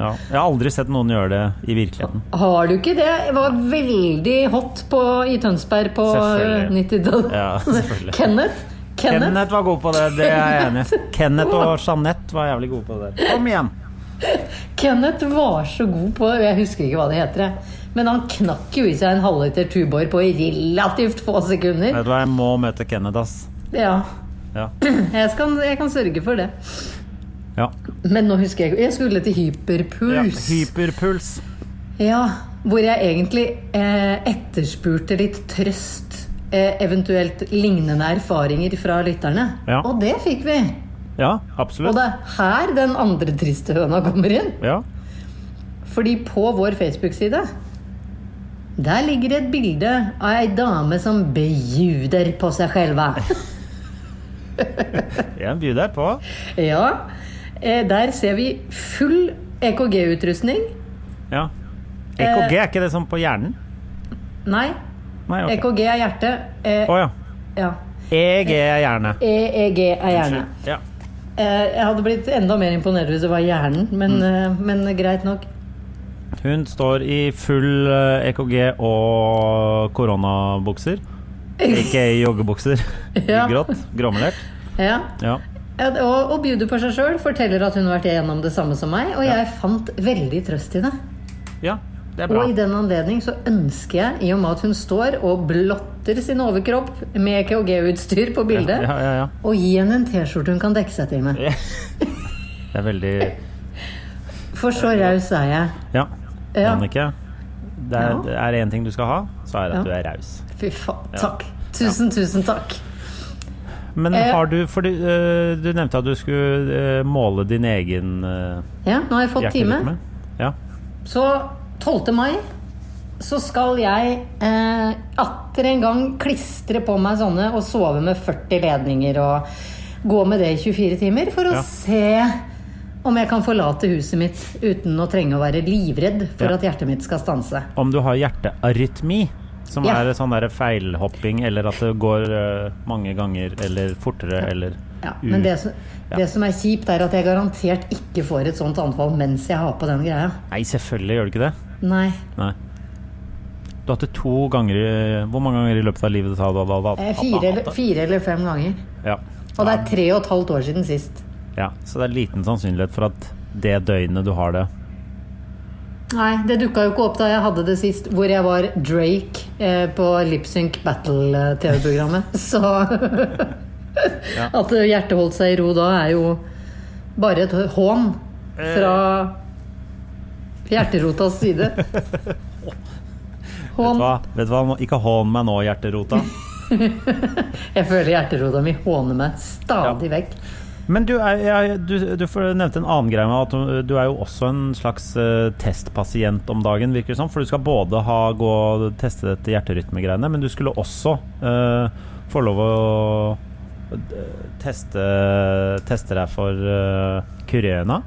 S1: Ja. Jeg har aldri sett noen gjøre det i virkeligheten.
S2: Har du ikke det? Det var veldig hot på, i Tønsberg på
S1: Selvfølgelig.
S2: 90-tallet.
S1: Ja, selvfølgelig.
S2: Kenneth? Kenneth?
S1: Kenneth var god på det, det er jeg enig i. Kenneth og Jeanette var jævlig gode på det. der. Kom igjen!
S2: Kenneth var så god på Jeg husker ikke hva det heter. jeg. Men han knakk jo i seg en halvliter Tuborg på relativt få sekunder.
S1: Vet du hva, jeg må møte Kenneth, ass.
S2: Ja,
S1: Ja.
S2: jeg kan, jeg kan sørge for det.
S1: ja.
S2: Men nå husker jeg ikke Jeg skulle til
S1: ja.
S2: hyperpuls.
S1: Hyperpuls.
S2: Ja, hvor jeg egentlig eh, etterspurte litt trøst. Eh, eventuelt lignende erfaringer fra lytterne.
S1: Ja.
S2: Og det fikk vi.
S1: Ja,
S2: Og
S1: absolutt.
S2: det er her den andre triste høna kommer inn.
S1: Ja.
S2: Fordi på vår Facebook-side der ligger et bilde av ei dame som bejuder på seg selva.
S1: Jeg byr deg på.
S2: Ja, eh, der ser vi full E EKG-utrustning.
S1: Ja. EKG, er ikke det sånn på hjernen?
S2: Nei,
S1: Nei, ok.
S2: EKG er hjerte.
S1: Å
S2: Eh,
S1: ja.
S2: ja.
S1: EEG er hjerne.
S2: EEG er hjerne.
S1: Ja.
S2: Eh, Jeg hadde blitt enda mer imponert hvis det var hjernen, men,
S1: Mm.
S2: eh, men greit nok.
S1: Hun står i full eh, EKG og koronabukser. Ikke i joggebukser.
S2: Ja.
S1: Grått. Gråmelert.
S2: Ja.
S1: Ja.
S2: Ja, Og, og bjuder på seg sjøl, forteller at hun har vært igjennom det samme som meg, og jeg fant veldig trøst i det.
S1: ja, det er bra.
S2: Og i den anledning så ønsker jeg, i og med at hun står og blotter sin overkropp med EKG-utstyr på bildet,
S1: Ja, ja, ja.
S2: å gi henne en T-skjorte hun kan dekke seg til med.
S1: Det er veldig
S2: For så raus er jeg.
S1: Ja.
S2: Ja.
S1: Jannicke, det er,
S2: Ja.
S1: det er én ting du skal ha, så er det at
S2: Ja.
S1: du er raus.
S2: Fy faen. Takk. Tusen, tusen takk.
S1: Men
S2: Eh.
S1: har du For du, eh, du nevnte at du skulle eh, måle din egen eh,
S2: Ja, nå har jeg fått time.
S1: hjerterytme. Ja.
S2: Så 12. mai så skal jeg eh, atter en gang klistre på meg sånne og sove med 40 ledninger og gå med det i 24 timer for å
S1: Ja.
S2: se om jeg kan forlate huset mitt uten å trenge å være livredd for
S1: Ja.
S2: at hjertet mitt skal stanse.
S1: Om du har hjertearytmi, som
S2: Ja.
S1: er sånn der feilhopping, eller at det går eh, mange ganger, eller fortere, eller
S2: Ja,
S1: u-
S2: men det, som-
S1: Mm. Ja.
S2: det som er kjipt, er at jeg garantert ikke får et sånt anfall mens jeg har på den greia.
S1: Nei, selvfølgelig gjør du ikke det.
S2: Nei.
S1: Nei. Du har hatt det to ganger i Hvor mange ganger i løpet av livet sa du hadde hatt
S2: Eh, Fire, eller- fire eller fem ganger.
S1: Ja.
S2: Og det er tre og et halvt år siden sist.
S1: ja. Så det er liten sannsynlighet for at det døgnet du har det
S2: Nei, det dukka jo ikke opp da jeg hadde det sist, hvor jeg var Drake eh, på Lipsync Battle-TV-programmet. Så at hjertet holdt seg i ro da, er jo bare et hån fra
S1: Eh.
S2: hjerterotas side.
S1: Vet du
S2: Hån.
S1: hva? Vet du hva? Nå- Ikke hån meg nå, hjerterota.
S2: Jeg føler hjerterota mi håner meg stadig vekk.
S1: Men du, er, jeg, du, du får- nevnte en annen greie med at du- du er jo også en slags eh, testpasient om dagen, virker det som. For du skal både ha, gå og teste dette hjerterytmegreiene, men du skulle også eh, få lov å eh, teste, teste deg for uh, kurena.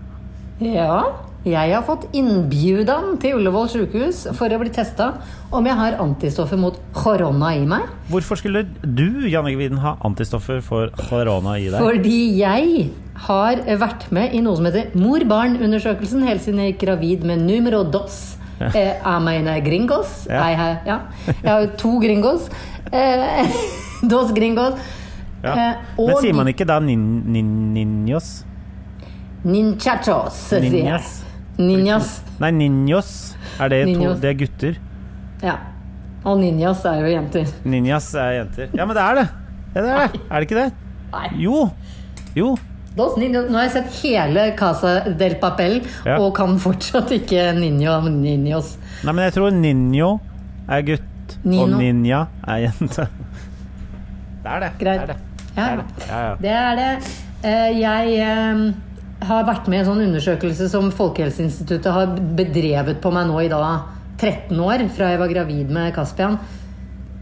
S2: Ja, jeg har fått innbjudan til Ullevål sjukehus for å bli testa om jeg har antistoffer mot korona i meg.
S1: Hvorfor skulle du, Janne Gviden, ha antistoffer for korona i deg?
S2: Fordi jeg har vært med i noe som heter mor-barn-undersøkelsen helt siden jeg gikk gravid med numero dos. Eh, Ameine gringos.
S1: Ja.
S2: Nei, he- ja. Jeg har jo to gringos. Eh, dos gringos.
S1: Ja.
S2: Eh,
S1: Men sier man
S2: nin-
S1: ikke da nin, nin, ninjos?
S2: ninchachos, sier jeg.
S1: Ninjas?
S2: Ninjas.
S1: Nei, ninjos. Er det, to,
S2: Ninjos.
S1: det er gutter.
S2: Ja. Og ninjas er jo jenter.
S1: Ninjas er jenter. Ja, men det er det! Ja, det er det. Er det ikke det?
S2: Nei.
S1: Jo. Jo.
S2: Dos ninjos. Nå har jeg sett hele Casa del Papel
S1: Ja.
S2: og kan fortsatt ikke ninjo ninjos.
S1: Nei, men jeg tror ninjo er gutt, og
S2: Nino.
S1: ninja er jente. Det er det.
S2: Greit.
S1: Det er det. Det
S2: Ja.
S1: er det. Ja, ja.
S2: Det er det. Eh, Jeg eh, har vært med i en sånn undersøkelse som Folkehelseinstituttet har bedrevet på meg nå i da 13 år, fra jeg var gravid med Caspian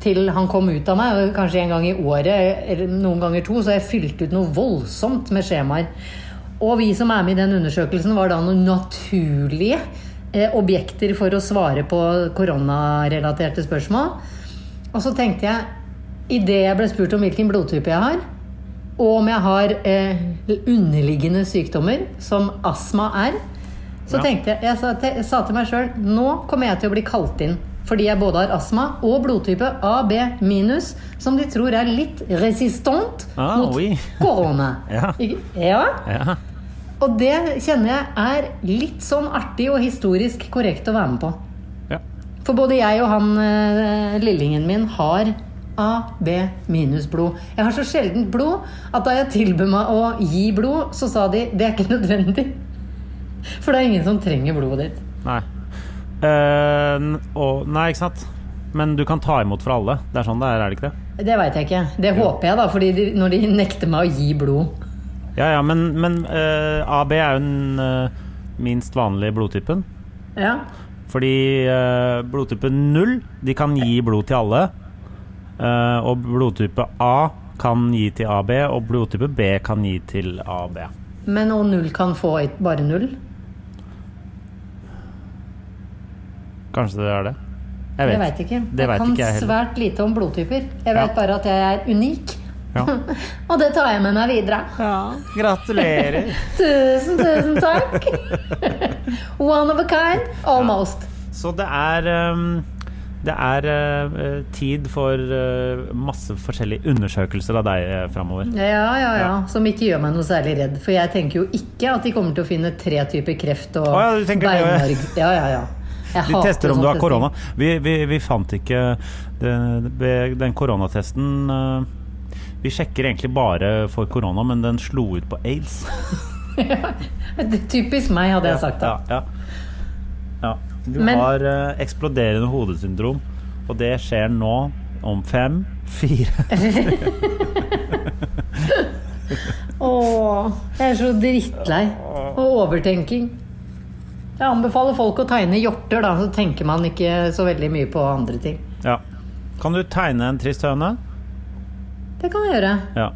S2: til han kom ut av meg, og kanskje en gang i året, eller noen ganger to, så har jeg fylt ut noe voldsomt med skjemaer. Og vi som er med i den undersøkelsen, var da noen naturlige eh, objekter for å svare på koronarelaterte spørsmål. Og så tenkte jeg, idet jeg ble spurt om hvilken blodtype jeg har, og om jeg har eh, underliggende sykdommer, som astma er, så
S1: Ja.
S2: tenkte jeg Jeg sa til, sa til meg sjøl nå kommer jeg til å bli kalt inn. Fordi jeg både har astma og blodtype AB minus, som de tror er litt resistant
S1: Ah,
S2: mot
S1: oui.
S2: korona.
S1: Ja.
S2: Ikke- ja.
S1: Ja.
S2: Og det kjenner jeg er litt sånn artig og historisk korrekt å være med på.
S1: Ja.
S2: For både jeg og han eh, lillingen min har AB minus blod. Jeg har så sjeldent blod at da jeg tilbød meg å gi blod, så sa de det er ikke nødvendig. For det er ingen som trenger blodet ditt.
S1: Nei. Eh, n- og, nei, ikke sant? Men du kan ta imot fra alle. Det er sånn det er, er det ikke det?
S2: Det veit jeg ikke. Det håper jeg, da, fordi de, når de nekter meg å gi blod.
S1: Ja, ja, men, men eh, AB er jo den eh, minst vanlige blodtypen.
S2: Ja.
S1: Fordi eh, blodtype 0, de kan gi blod til alle. Eh, og blodtype A kan gi til AB, og blodtype B kan gi til AB.
S2: Men og null kan få et- bare null?
S1: Kanskje det er det? Jeg
S2: Jeg veit ikke.
S1: Det vet
S2: jeg kan
S1: ikke jeg heller.
S2: svært lite om blodtyper. Jeg
S1: Ja.
S2: veit bare at jeg er unik.
S1: Ja.
S2: Og det tar jeg med meg videre.
S1: Gratulerer.
S2: Tusen, tusen takk. One of a kind. Almost.
S1: Så det er ehm, det er eh, tid for eh, masse forskjellige undersøkelser av deg uh, framover.
S2: Ja, ja, ja.
S1: Ja.
S2: Som ikke gjør meg noe særlig redd. For jeg tenker jo ikke at de kommer til å finne tre typer kreft og
S1: Å ja, du tenker det, ja.
S2: beinmarg- Ja, ja, ja. Jeg
S1: De
S2: hater
S1: tester om
S2: sånn
S1: du har
S2: testing.
S1: korona. Vi, vi, vi fant ikke den, den koronatesten eh, Vi sjekker egentlig bare for korona, men den slo ut på aids.
S2: Det er Typisk meg, hadde jeg sagt da.
S1: Ja, ja. ja. Du
S2: Men-
S1: har eh, eksploderende hodesyndrom, og det skjer nå om fem, fire
S2: Åh, jeg er så drittlei. Og overtenking. Jeg anbefaler folk å tegne hjorter, da. Så tenker man ikke så veldig mye på andre ting.
S1: Ja. Kan du tegne en trist høne?
S2: Det kan jeg gjøre.
S1: Ja.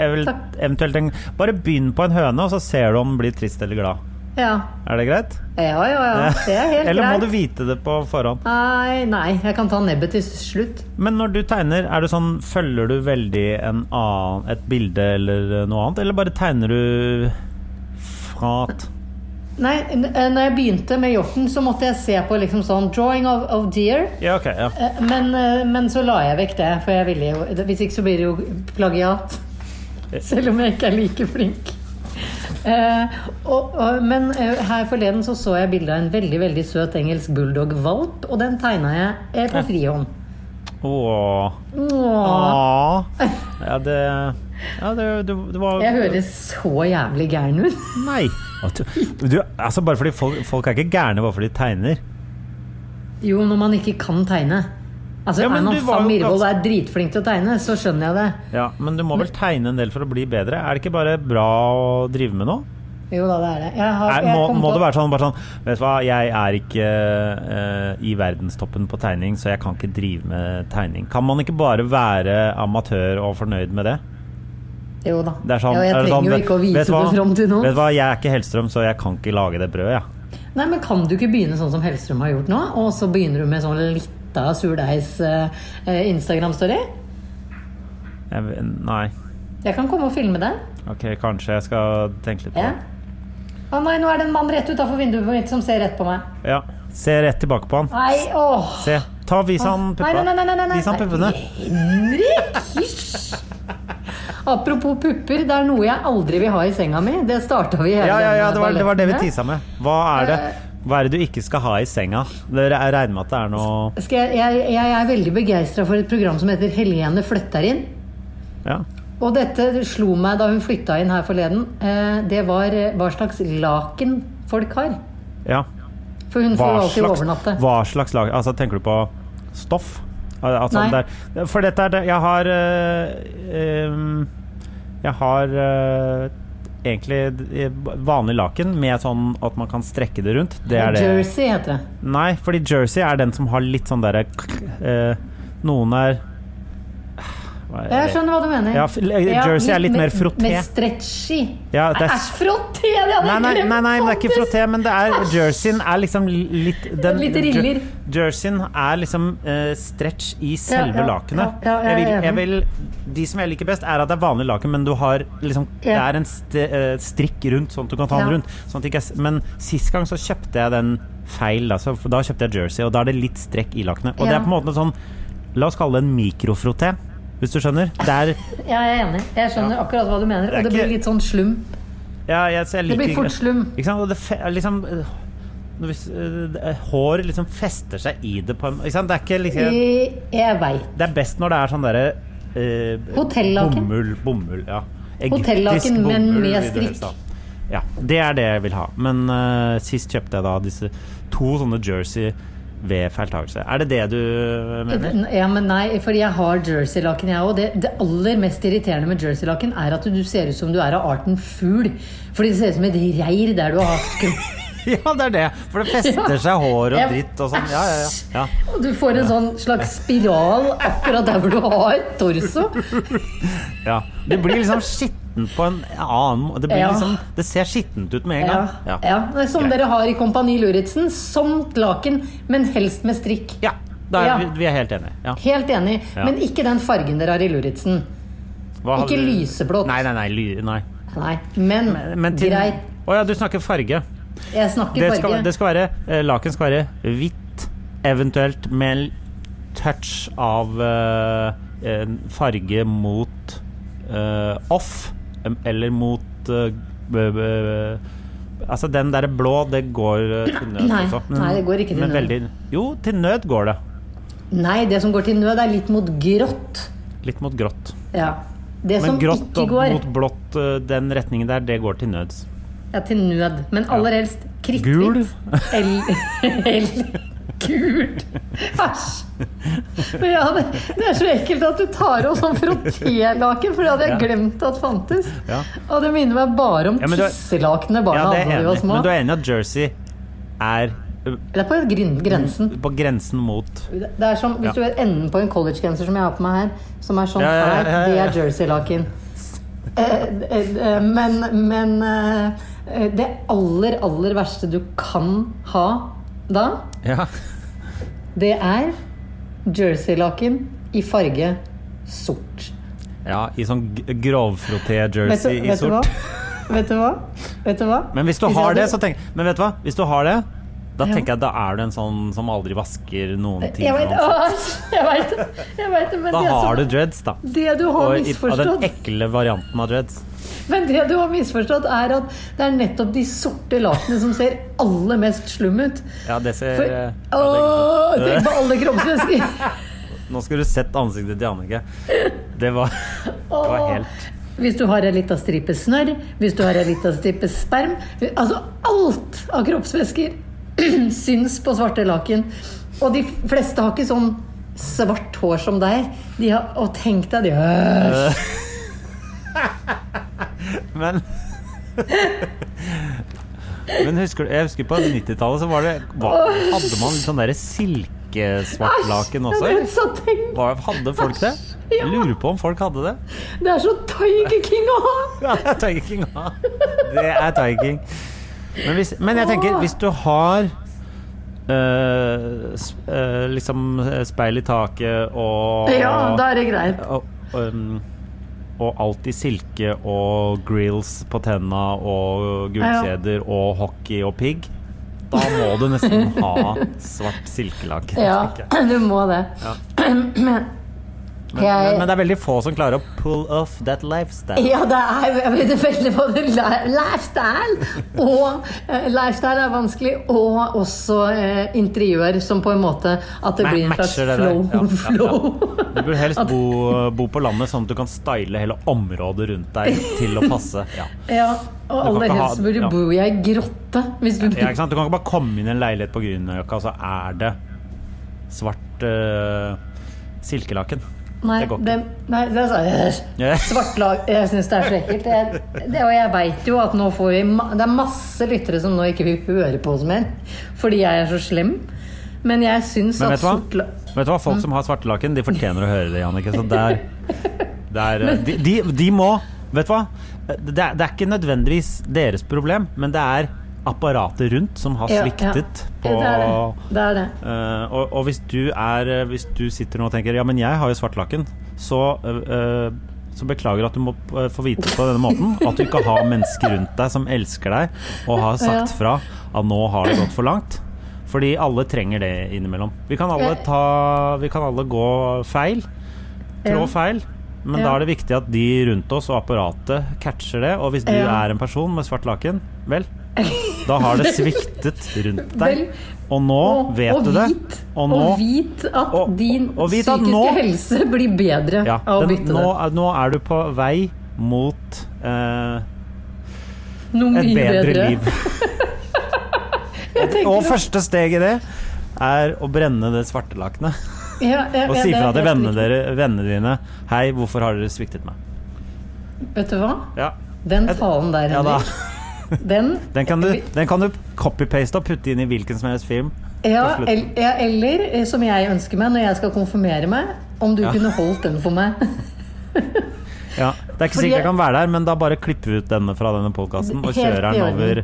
S1: evel-
S2: Takk.
S1: eventuelt en Bare begynn på en høne, og så ser du om den blir trist eller glad.
S2: Ja.
S1: Er det greit?
S2: Ja, ja, ja. Det er helt
S1: Eller må
S2: greit.
S1: du vite det på forhånd?
S2: Nei, nei, jeg kan ta nebbet til slutt.
S1: Men når du tegner, er det sånn Følger du veldig en annen, et bilde eller noe annet, eller bare tegner du frat?
S2: Nei, n- eh, når jeg begynte med hjorten, så måtte jeg se på liksom sånn drawing of, of deer.
S1: Ja, ok. Ja.
S2: Eh, Men, eh, men så la jeg vekk det, for jeg ville jo det- Hvis ikke så blir det jo plagiat.
S1: Eh.
S2: Selv om jeg ikke er like flink. Eh, og, og, men eh, her forleden så så jeg bilde av en veldig veldig søt engelsk bulldog-valp, og den tegna jeg eh, på frihånd.
S1: Åh.
S2: Åh,
S1: Åh. Ja, det Ja, det, det, det var
S2: jeg høres så jævlig gæren ut.
S1: Nei. At Du, du, altså bare fordi folk, folk er ikke gærne bare fordi de tegner.
S2: Jo, når man ikke kan tegne. Altså,
S1: Ja, men
S2: Er man
S1: du var
S2: Sam
S1: jo
S2: Mirvold og
S1: ganske-
S2: er dritflink til å tegne, så skjønner jeg det.
S1: Ja, Men du må vel tegne en del for å bli bedre? Er det ikke bare bra å drive med noe?
S2: Jo da, det er det. Jeg har,
S1: Er,
S2: jeg
S1: må,
S2: kom
S1: må
S2: på-
S1: det være sånn, bare sånn Vet du hva, jeg er ikke eh, i verdenstoppen på tegning, så jeg kan ikke drive med tegning. Kan man ikke bare være amatør og fornøyd med det?
S2: Jo da.
S1: Det er sånn,
S2: ja, jeg
S1: er det
S2: trenger
S1: sånn,
S2: jo ikke å vise
S1: vet du hva?
S2: det fram til noen.
S1: Vet du hva, jeg er ikke Hellstrøm, så jeg kan ikke lage det brødet, jeg.
S2: Nei, men Kan du ikke begynne sånn som Hellstrøm har gjort nå? Og så begynner du med sånn lita eh, surdeigs-Instagram-story?
S1: jeg. vet- Nei.
S2: jeg kan komme og filme den.
S1: Ok, kanskje jeg skal tenke litt på
S2: Ja.
S1: det.
S2: Å nei, nå er det en mann rett utafor vinduet mitt som ser rett på meg.
S1: Ja. Se rett tilbake på han.
S2: Nei, åh
S1: Se. Ta, vis han
S2: Nei,
S1: puppa.
S2: nei, nei, nei, nei, nei.
S1: Vis han puppene.
S2: Henrik, hysj! Apropos pupper, det er noe jeg aldri vil ha i senga mi. Det starta vi hele
S1: Ja, ja, ja,
S2: denne
S1: det var det, var det vi
S2: balletten med.
S1: tisa med. Hva er det
S2: Eh.
S1: Hva er det du ikke skal ha i senga? Dere jeg regner med at det er noe
S2: Skal jeg, jeg, jeg er veldig begeistra for et program som heter Helene flytter inn.
S1: Ja.
S2: Og dette slo meg da hun flytta inn her forleden. Eh, Det var eh, hva slags laken folk har.
S1: ja.
S2: For hun får
S1: Hva
S2: jo alltid
S1: slags,
S2: overnatte.
S1: hva slags lag Altså, tenker du på stoff? Al- Altså,
S2: Nei.
S1: det er- for dette er det Jeg har øh, ehm, Jeg har øh, egentlig d- vanlig laken med sånn at man kan strekke det rundt. Det er det.
S2: Jersey heter det.
S1: Nei, fordi jersey er den som har litt sånn derre eh, Noen er Hva er det?
S2: Jeg skjønner hva du mener.
S1: Ja, f- Jersey er litt mer frotté.
S2: Med stretchy.
S1: Ja, det er-
S2: Æsj, frotté! Det hadde
S1: Nei,
S2: jeg
S1: nei,
S2: glemt!
S1: nei, nei, det er ikke
S2: faktisk.
S1: frotté, men det er jerseyen er liksom litt den,
S2: Litt riller.
S1: jer- Jerseyen er liksom eh, stretch i selve
S2: ja,
S1: lakenet.
S2: ja,
S1: jeg,
S2: ja, jeg
S1: vil,
S2: er
S1: jeg
S2: enig.
S1: vil De som jeg liker best, er at det er vanlig laken, men du har liksom Det
S2: Ja.
S1: er en st eh, strikk rundt, sånn at du kan ta den
S2: Ja.
S1: rundt. Sånn at det ikke er, s- men sist gang så kjøpte jeg den feil, da, så, for da kjøpte jeg jersey, og da er det litt strekk i lakenet. Og det
S2: Ja.
S1: er på en måte sånn La oss kalle det en mikrofrotté, hvis du skjønner. Det er
S2: Ja, jeg er enig. Jeg skjønner akkurat hva du mener.
S1: er
S2: Og det
S1: ikke-
S2: blir litt sånn slum.
S1: Ja, jeg, så jeg
S2: Det
S1: liker
S2: blir fort slum.
S1: Ikke sant? Og det fe, liksom øh, når hvis, øh, det- Hår liksom fester seg i det på en ikke sant? Det er ikke liksom,
S2: Jeg, jeg veit.
S1: Det er best når det er sånn derre øh,
S2: Hotellaken.
S1: Bomull, bomull, ja. Egyptisk
S2: Hotellaken, men
S1: bomull,
S2: med
S1: vil det helst
S2: strikk.
S1: ha. Ja, det er det jeg vil ha. Men øh, sist kjøpte jeg da disse to sånne jersey ved feiltagelse. Er det det du mener?
S2: Ja, men nei, for jeg har jerseylaken, jeg òg. Det, det aller mest irriterende med jerseylaken er at du ser ut som du er av arten fugl. Fordi det ser ut som et reir der du har hatt kropp.
S1: Ja, det er det! For det fester seg hår og
S2: Ja.
S1: dritt og sånn. Ja, ja, ja. ja.
S2: Og du får en sånn slags spiral akkurat der hvor du har torso.
S1: Ja. Det blir liksom skittent på en annen måte. Det, blir
S2: Ja.
S1: liksom, det ser skittent ut med en
S2: Ja,
S1: gang.
S2: ja. Det er Som dere har i Kompani Luritzen. Sånt laken, men helst med strikk.
S1: Ja, da er,
S2: Ja.
S1: Vi, vi er helt enige. Ja.
S2: Helt enig.
S1: Ja.
S2: Men ikke den fargen dere har i Luritzen.
S1: Hva har
S2: Ikke
S1: du-
S2: lyseblått.
S1: Nei, nei, nei. Ly, nei.
S2: Nei, men,
S1: Men til-
S2: greit.
S1: Å ja, du snakker farge.
S2: Jeg snakker
S1: Det
S2: farge.
S1: skal, det skal være eh, Laken skal være hvitt, eventuelt med en touch av eh, en farge mot eh, off, em- eller mot eh, b- b- Altså, den derre blå, det går eh, til nød
S2: Nei,
S1: også.
S2: nei, det går ikke til
S1: men
S2: nød.
S1: Veldig, jo, til nød går det.
S2: Nei, det som går til nød, er litt mot grått.
S1: Litt mot grått.
S2: Ja. Det
S1: Men
S2: som
S1: grått
S2: ikke
S1: og
S2: går,
S1: mot blått, eh, den retningen der, det går til nøds.
S2: er til nød. Men aller helst
S1: Gul?
S2: kritthvitt. Eller eller gult. Æsj! Men ja, det, det er så ekkelt at du tar av sånn frottélaken, for det hadde jeg glemt at fantes.
S1: Ja.
S2: Og det minner meg bare om
S1: Ja, men du er-
S2: tisselakenene barna
S1: Ja, det
S2: hadde
S1: er
S2: da de var
S1: enig.
S2: små.
S1: Men du er enig at Jersey er ø,
S2: Det er på grin- grensen.
S1: på grensen mot
S2: Det er som, Hvis
S1: Ja.
S2: du er enden på en collegegenser som jeg har på meg her, som er sånn
S1: Ja, ja, ja, ja, ja.
S2: her, det er jerseylaken. Eh, eh, Men, men eh, det aller, aller verste du kan ha da,
S1: Ja.
S2: det er jerseylaken i farge sort.
S1: ja, i sånn g- grovfroté
S2: Vet du,
S1: jersey i
S2: vet du hva?
S1: sort.
S2: Vet du hva? Vet du hva?
S1: Men hvis du
S2: jeg
S1: har det,
S2: hadde-
S1: så tenk Men vet du hva? Hvis du har det, da
S2: Ja.
S1: tenker jeg da er du en sånn som aldri vasker noen ting.
S2: Jeg vet,
S1: for noen.
S2: å, jeg vet, jeg vet, men
S1: Da
S2: det som-
S1: har du dreads, da.
S2: Det du har
S1: Og i- av den
S2: misforstått,
S1: ekle varianten av dreads.
S2: men det du har misforstått er at det er nettopp de sorte lakene som ser aller mest slum ut.
S1: Ja, det ser
S2: For,
S1: ja, det-
S2: Åh, tenk på alle kroppsvæsker!
S1: Nå skulle du sett ansiktet til Jannicke. Det var, det var helt
S2: Hvis du har ei lita stripe snørr, hvis du har ei lita stripe sperm Altså alt av kroppsvæsker syns på svarte laken. Og de fleste har ikke sånn svart hår som deg. De har, og tenk deg de øh,
S1: Men Men husker du, jeg husker på 90-tallet så var det var, Hadde man litt sånn derre silkesvart laken også?
S2: men så tenk,
S1: Var, hadde folk det? Jeg lurer på om folk hadde det.
S2: Det er så Tiger King å ha!
S1: Ja, det er Tiger King. Ja. Det er Tiger King. Men, hvis, men jeg tenker, hvis du har øh, s- øh, liksom øh, speil i taket og
S2: Ja, da er det greit.
S1: og, um, og alt i silke og grills på tenna og gullkjeder og hockey og pigg. Da må du nesten ha svart silkelake.
S2: Ja,
S1: tenker jeg.
S2: du må det.
S1: Men, men, men det er veldig få som klarer å pull off that lifestyle.
S2: Ja, det er jeg vet veldig både li- lifestyle og eh, Lifestyle er vanskelig, og også eh, interiør, som på en måte At det
S1: Ma-
S2: blir en slags
S1: matcher det der.
S2: flow.
S1: Ja, ja, ja.
S2: flow.
S1: Du burde helst bo, bo på landet, sånn at du kan style hele området rundt deg til å passe. Ja.
S2: Ja,
S1: Du
S2: og
S1: kan
S2: aller
S1: ikke ha-
S2: helst burde
S1: ja.
S2: du bo i ei grotte. Hvis du
S1: Ja, ikke sant? Du kan ikke bare komme inn i en leilighet på Grünerløkka, og så er det svart øh, silkelaken.
S2: Nei,
S1: det går ikke.
S2: det, nei, det er sånn
S1: Ja.
S2: Svart lag Jeg syns det er så ekkelt. Jeg, det, og jeg veit jo at nå får vi ma- Det er masse lyttere som nå ikke vil høre på oss mer fordi jeg er så slem. Men jeg syns
S1: Men
S2: at
S1: vet du hva?
S2: sort la-
S1: Vet du hva? Folk som har svartelaken, de fortjener å høre det, Jannicke. Så der, der eh, de, de, de må Vet du hva? Det er, det er ikke nødvendigvis deres problem, men det er apparatet rundt som har
S2: Ja, ja.
S1: sviktet på
S2: Ja, det, er det. det er det.
S1: Eh, og, og hvis du er eh, Hvis du sitter nå og tenker Ja, men jeg har jo svartlaken Så, eh, eh, så beklager at du må eh, få vite på denne måten At du ikke har mennesker rundt deg Som elsker deg Og har
S2: Ja.
S1: sagt fra At nå har det gått for langt Fordi alle trenger det innimellom Vi kan alle, ta, vi kan alle gå feil Trå
S2: Ja.
S1: feil men
S2: Ja.
S1: da er det viktig at de rundt oss og apparatet catcher det Og hvis du
S2: Ja.
S1: er en person med svart laken Vel, da har det sviktet rundt deg
S2: Vel,
S1: Og nå
S2: Og,
S1: vet
S2: og
S1: du det
S2: vit,
S1: Og nå
S2: og vit at
S1: og-
S2: din
S1: og- og vit at
S2: psykiske
S1: nå-
S2: helse blir bedre
S1: ja,
S2: av å
S1: den,
S2: bytte
S1: nå,
S2: det.
S1: er, nå er du på vei mot eh,
S2: Noe
S1: et
S2: mye
S1: bedre,
S2: bedre.
S1: liv.
S2: Jeg tenker
S1: Og
S2: at-
S1: første steg i det er å brenne det svarte lakenet.
S2: Ja, ja,
S1: Og
S2: ja,
S1: si
S2: det er
S1: fra til
S2: helt
S1: vennene,
S2: riktig.
S1: dere, vennene dine Hei, hvorfor har dere sviktet meg?
S2: Vet du hva?
S1: Ja,
S2: Den talen der,
S1: ja da.
S2: Henrik. Den
S1: Den kan du, den kan du copy-paste og putte inn i hvilken som helst film.
S2: Ja,
S1: slutten.
S2: el ja, eller eh, som jeg ønsker meg når jeg skal konfirmere meg, om du kunne holdt den for meg.
S1: Ja, det er ikke
S2: Fordi-
S1: sikkert jeg kan være der, men da bare klipper vi ut denne fra denne podkasten og
S2: Helt i
S1: kjører den
S2: orden.
S1: over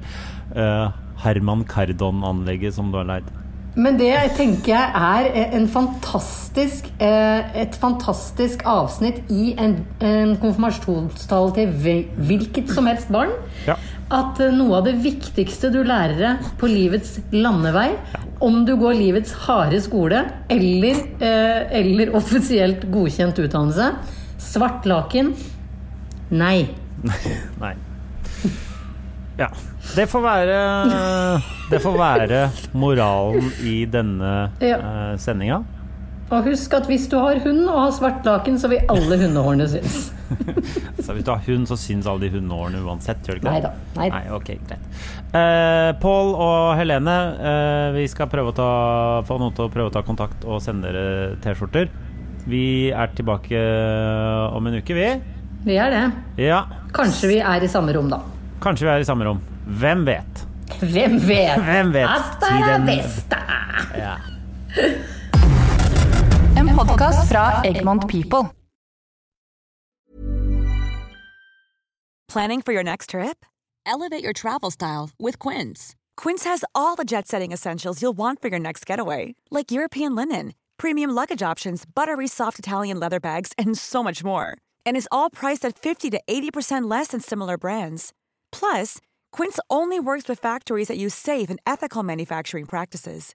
S1: eh, Herman Cardon-anlegget som du har leid.
S2: Men det tenker jeg er eh, en fantastisk, eh, et fantastisk avsnitt i en, en konfirmasjonstale til hvil- hvilket som helst barn.
S1: Ja.
S2: At eh, noe av det viktigste du lærer deg på livets landevei, om du går livets harde skole eller, eh, eller offisielt godkjent utdannelse Svart laken nei.
S1: Nei. Ja. Det får være Det får være moralen i denne ja.
S2: Ja.
S1: sendinga.
S2: Og husk at hvis du har hund og har svart laken, så vil alle hundehårene synes.
S1: Så hvis du har hund, så syns alle de hundehårene uansett. Gjør det ikke det?
S2: Neida, nei.
S1: Nei, ok, greit. Eh, Pål og Helene, eh, vi skal prøve å ta, få noen til å prøve å ta kontakt og sende dere T-skjorter. Vi er tilbake eh, om en uke, vi.
S2: Vi er det.
S1: Ja,
S2: Kanskje vi er i samme rom, da.
S1: kanskje vi er i samme rom. Hvem vet?
S2: Hvem vet?
S1: Hvem vet?
S2: Hasta
S1: Tiden-
S2: la vista!
S1: Ja.
S7: En podkast fra Egmont People. Planning for your next trip? Elevate your travel style with Quince. Quince has all the jet setting essentials you'll want for your next getaway, like European linen, premium luggage options, buttery soft Italian leather bags, and so much more. And is all priced at 50 to 80% less than similar brands. Plus, Quince only works with factories that use safe and ethical manufacturing practices.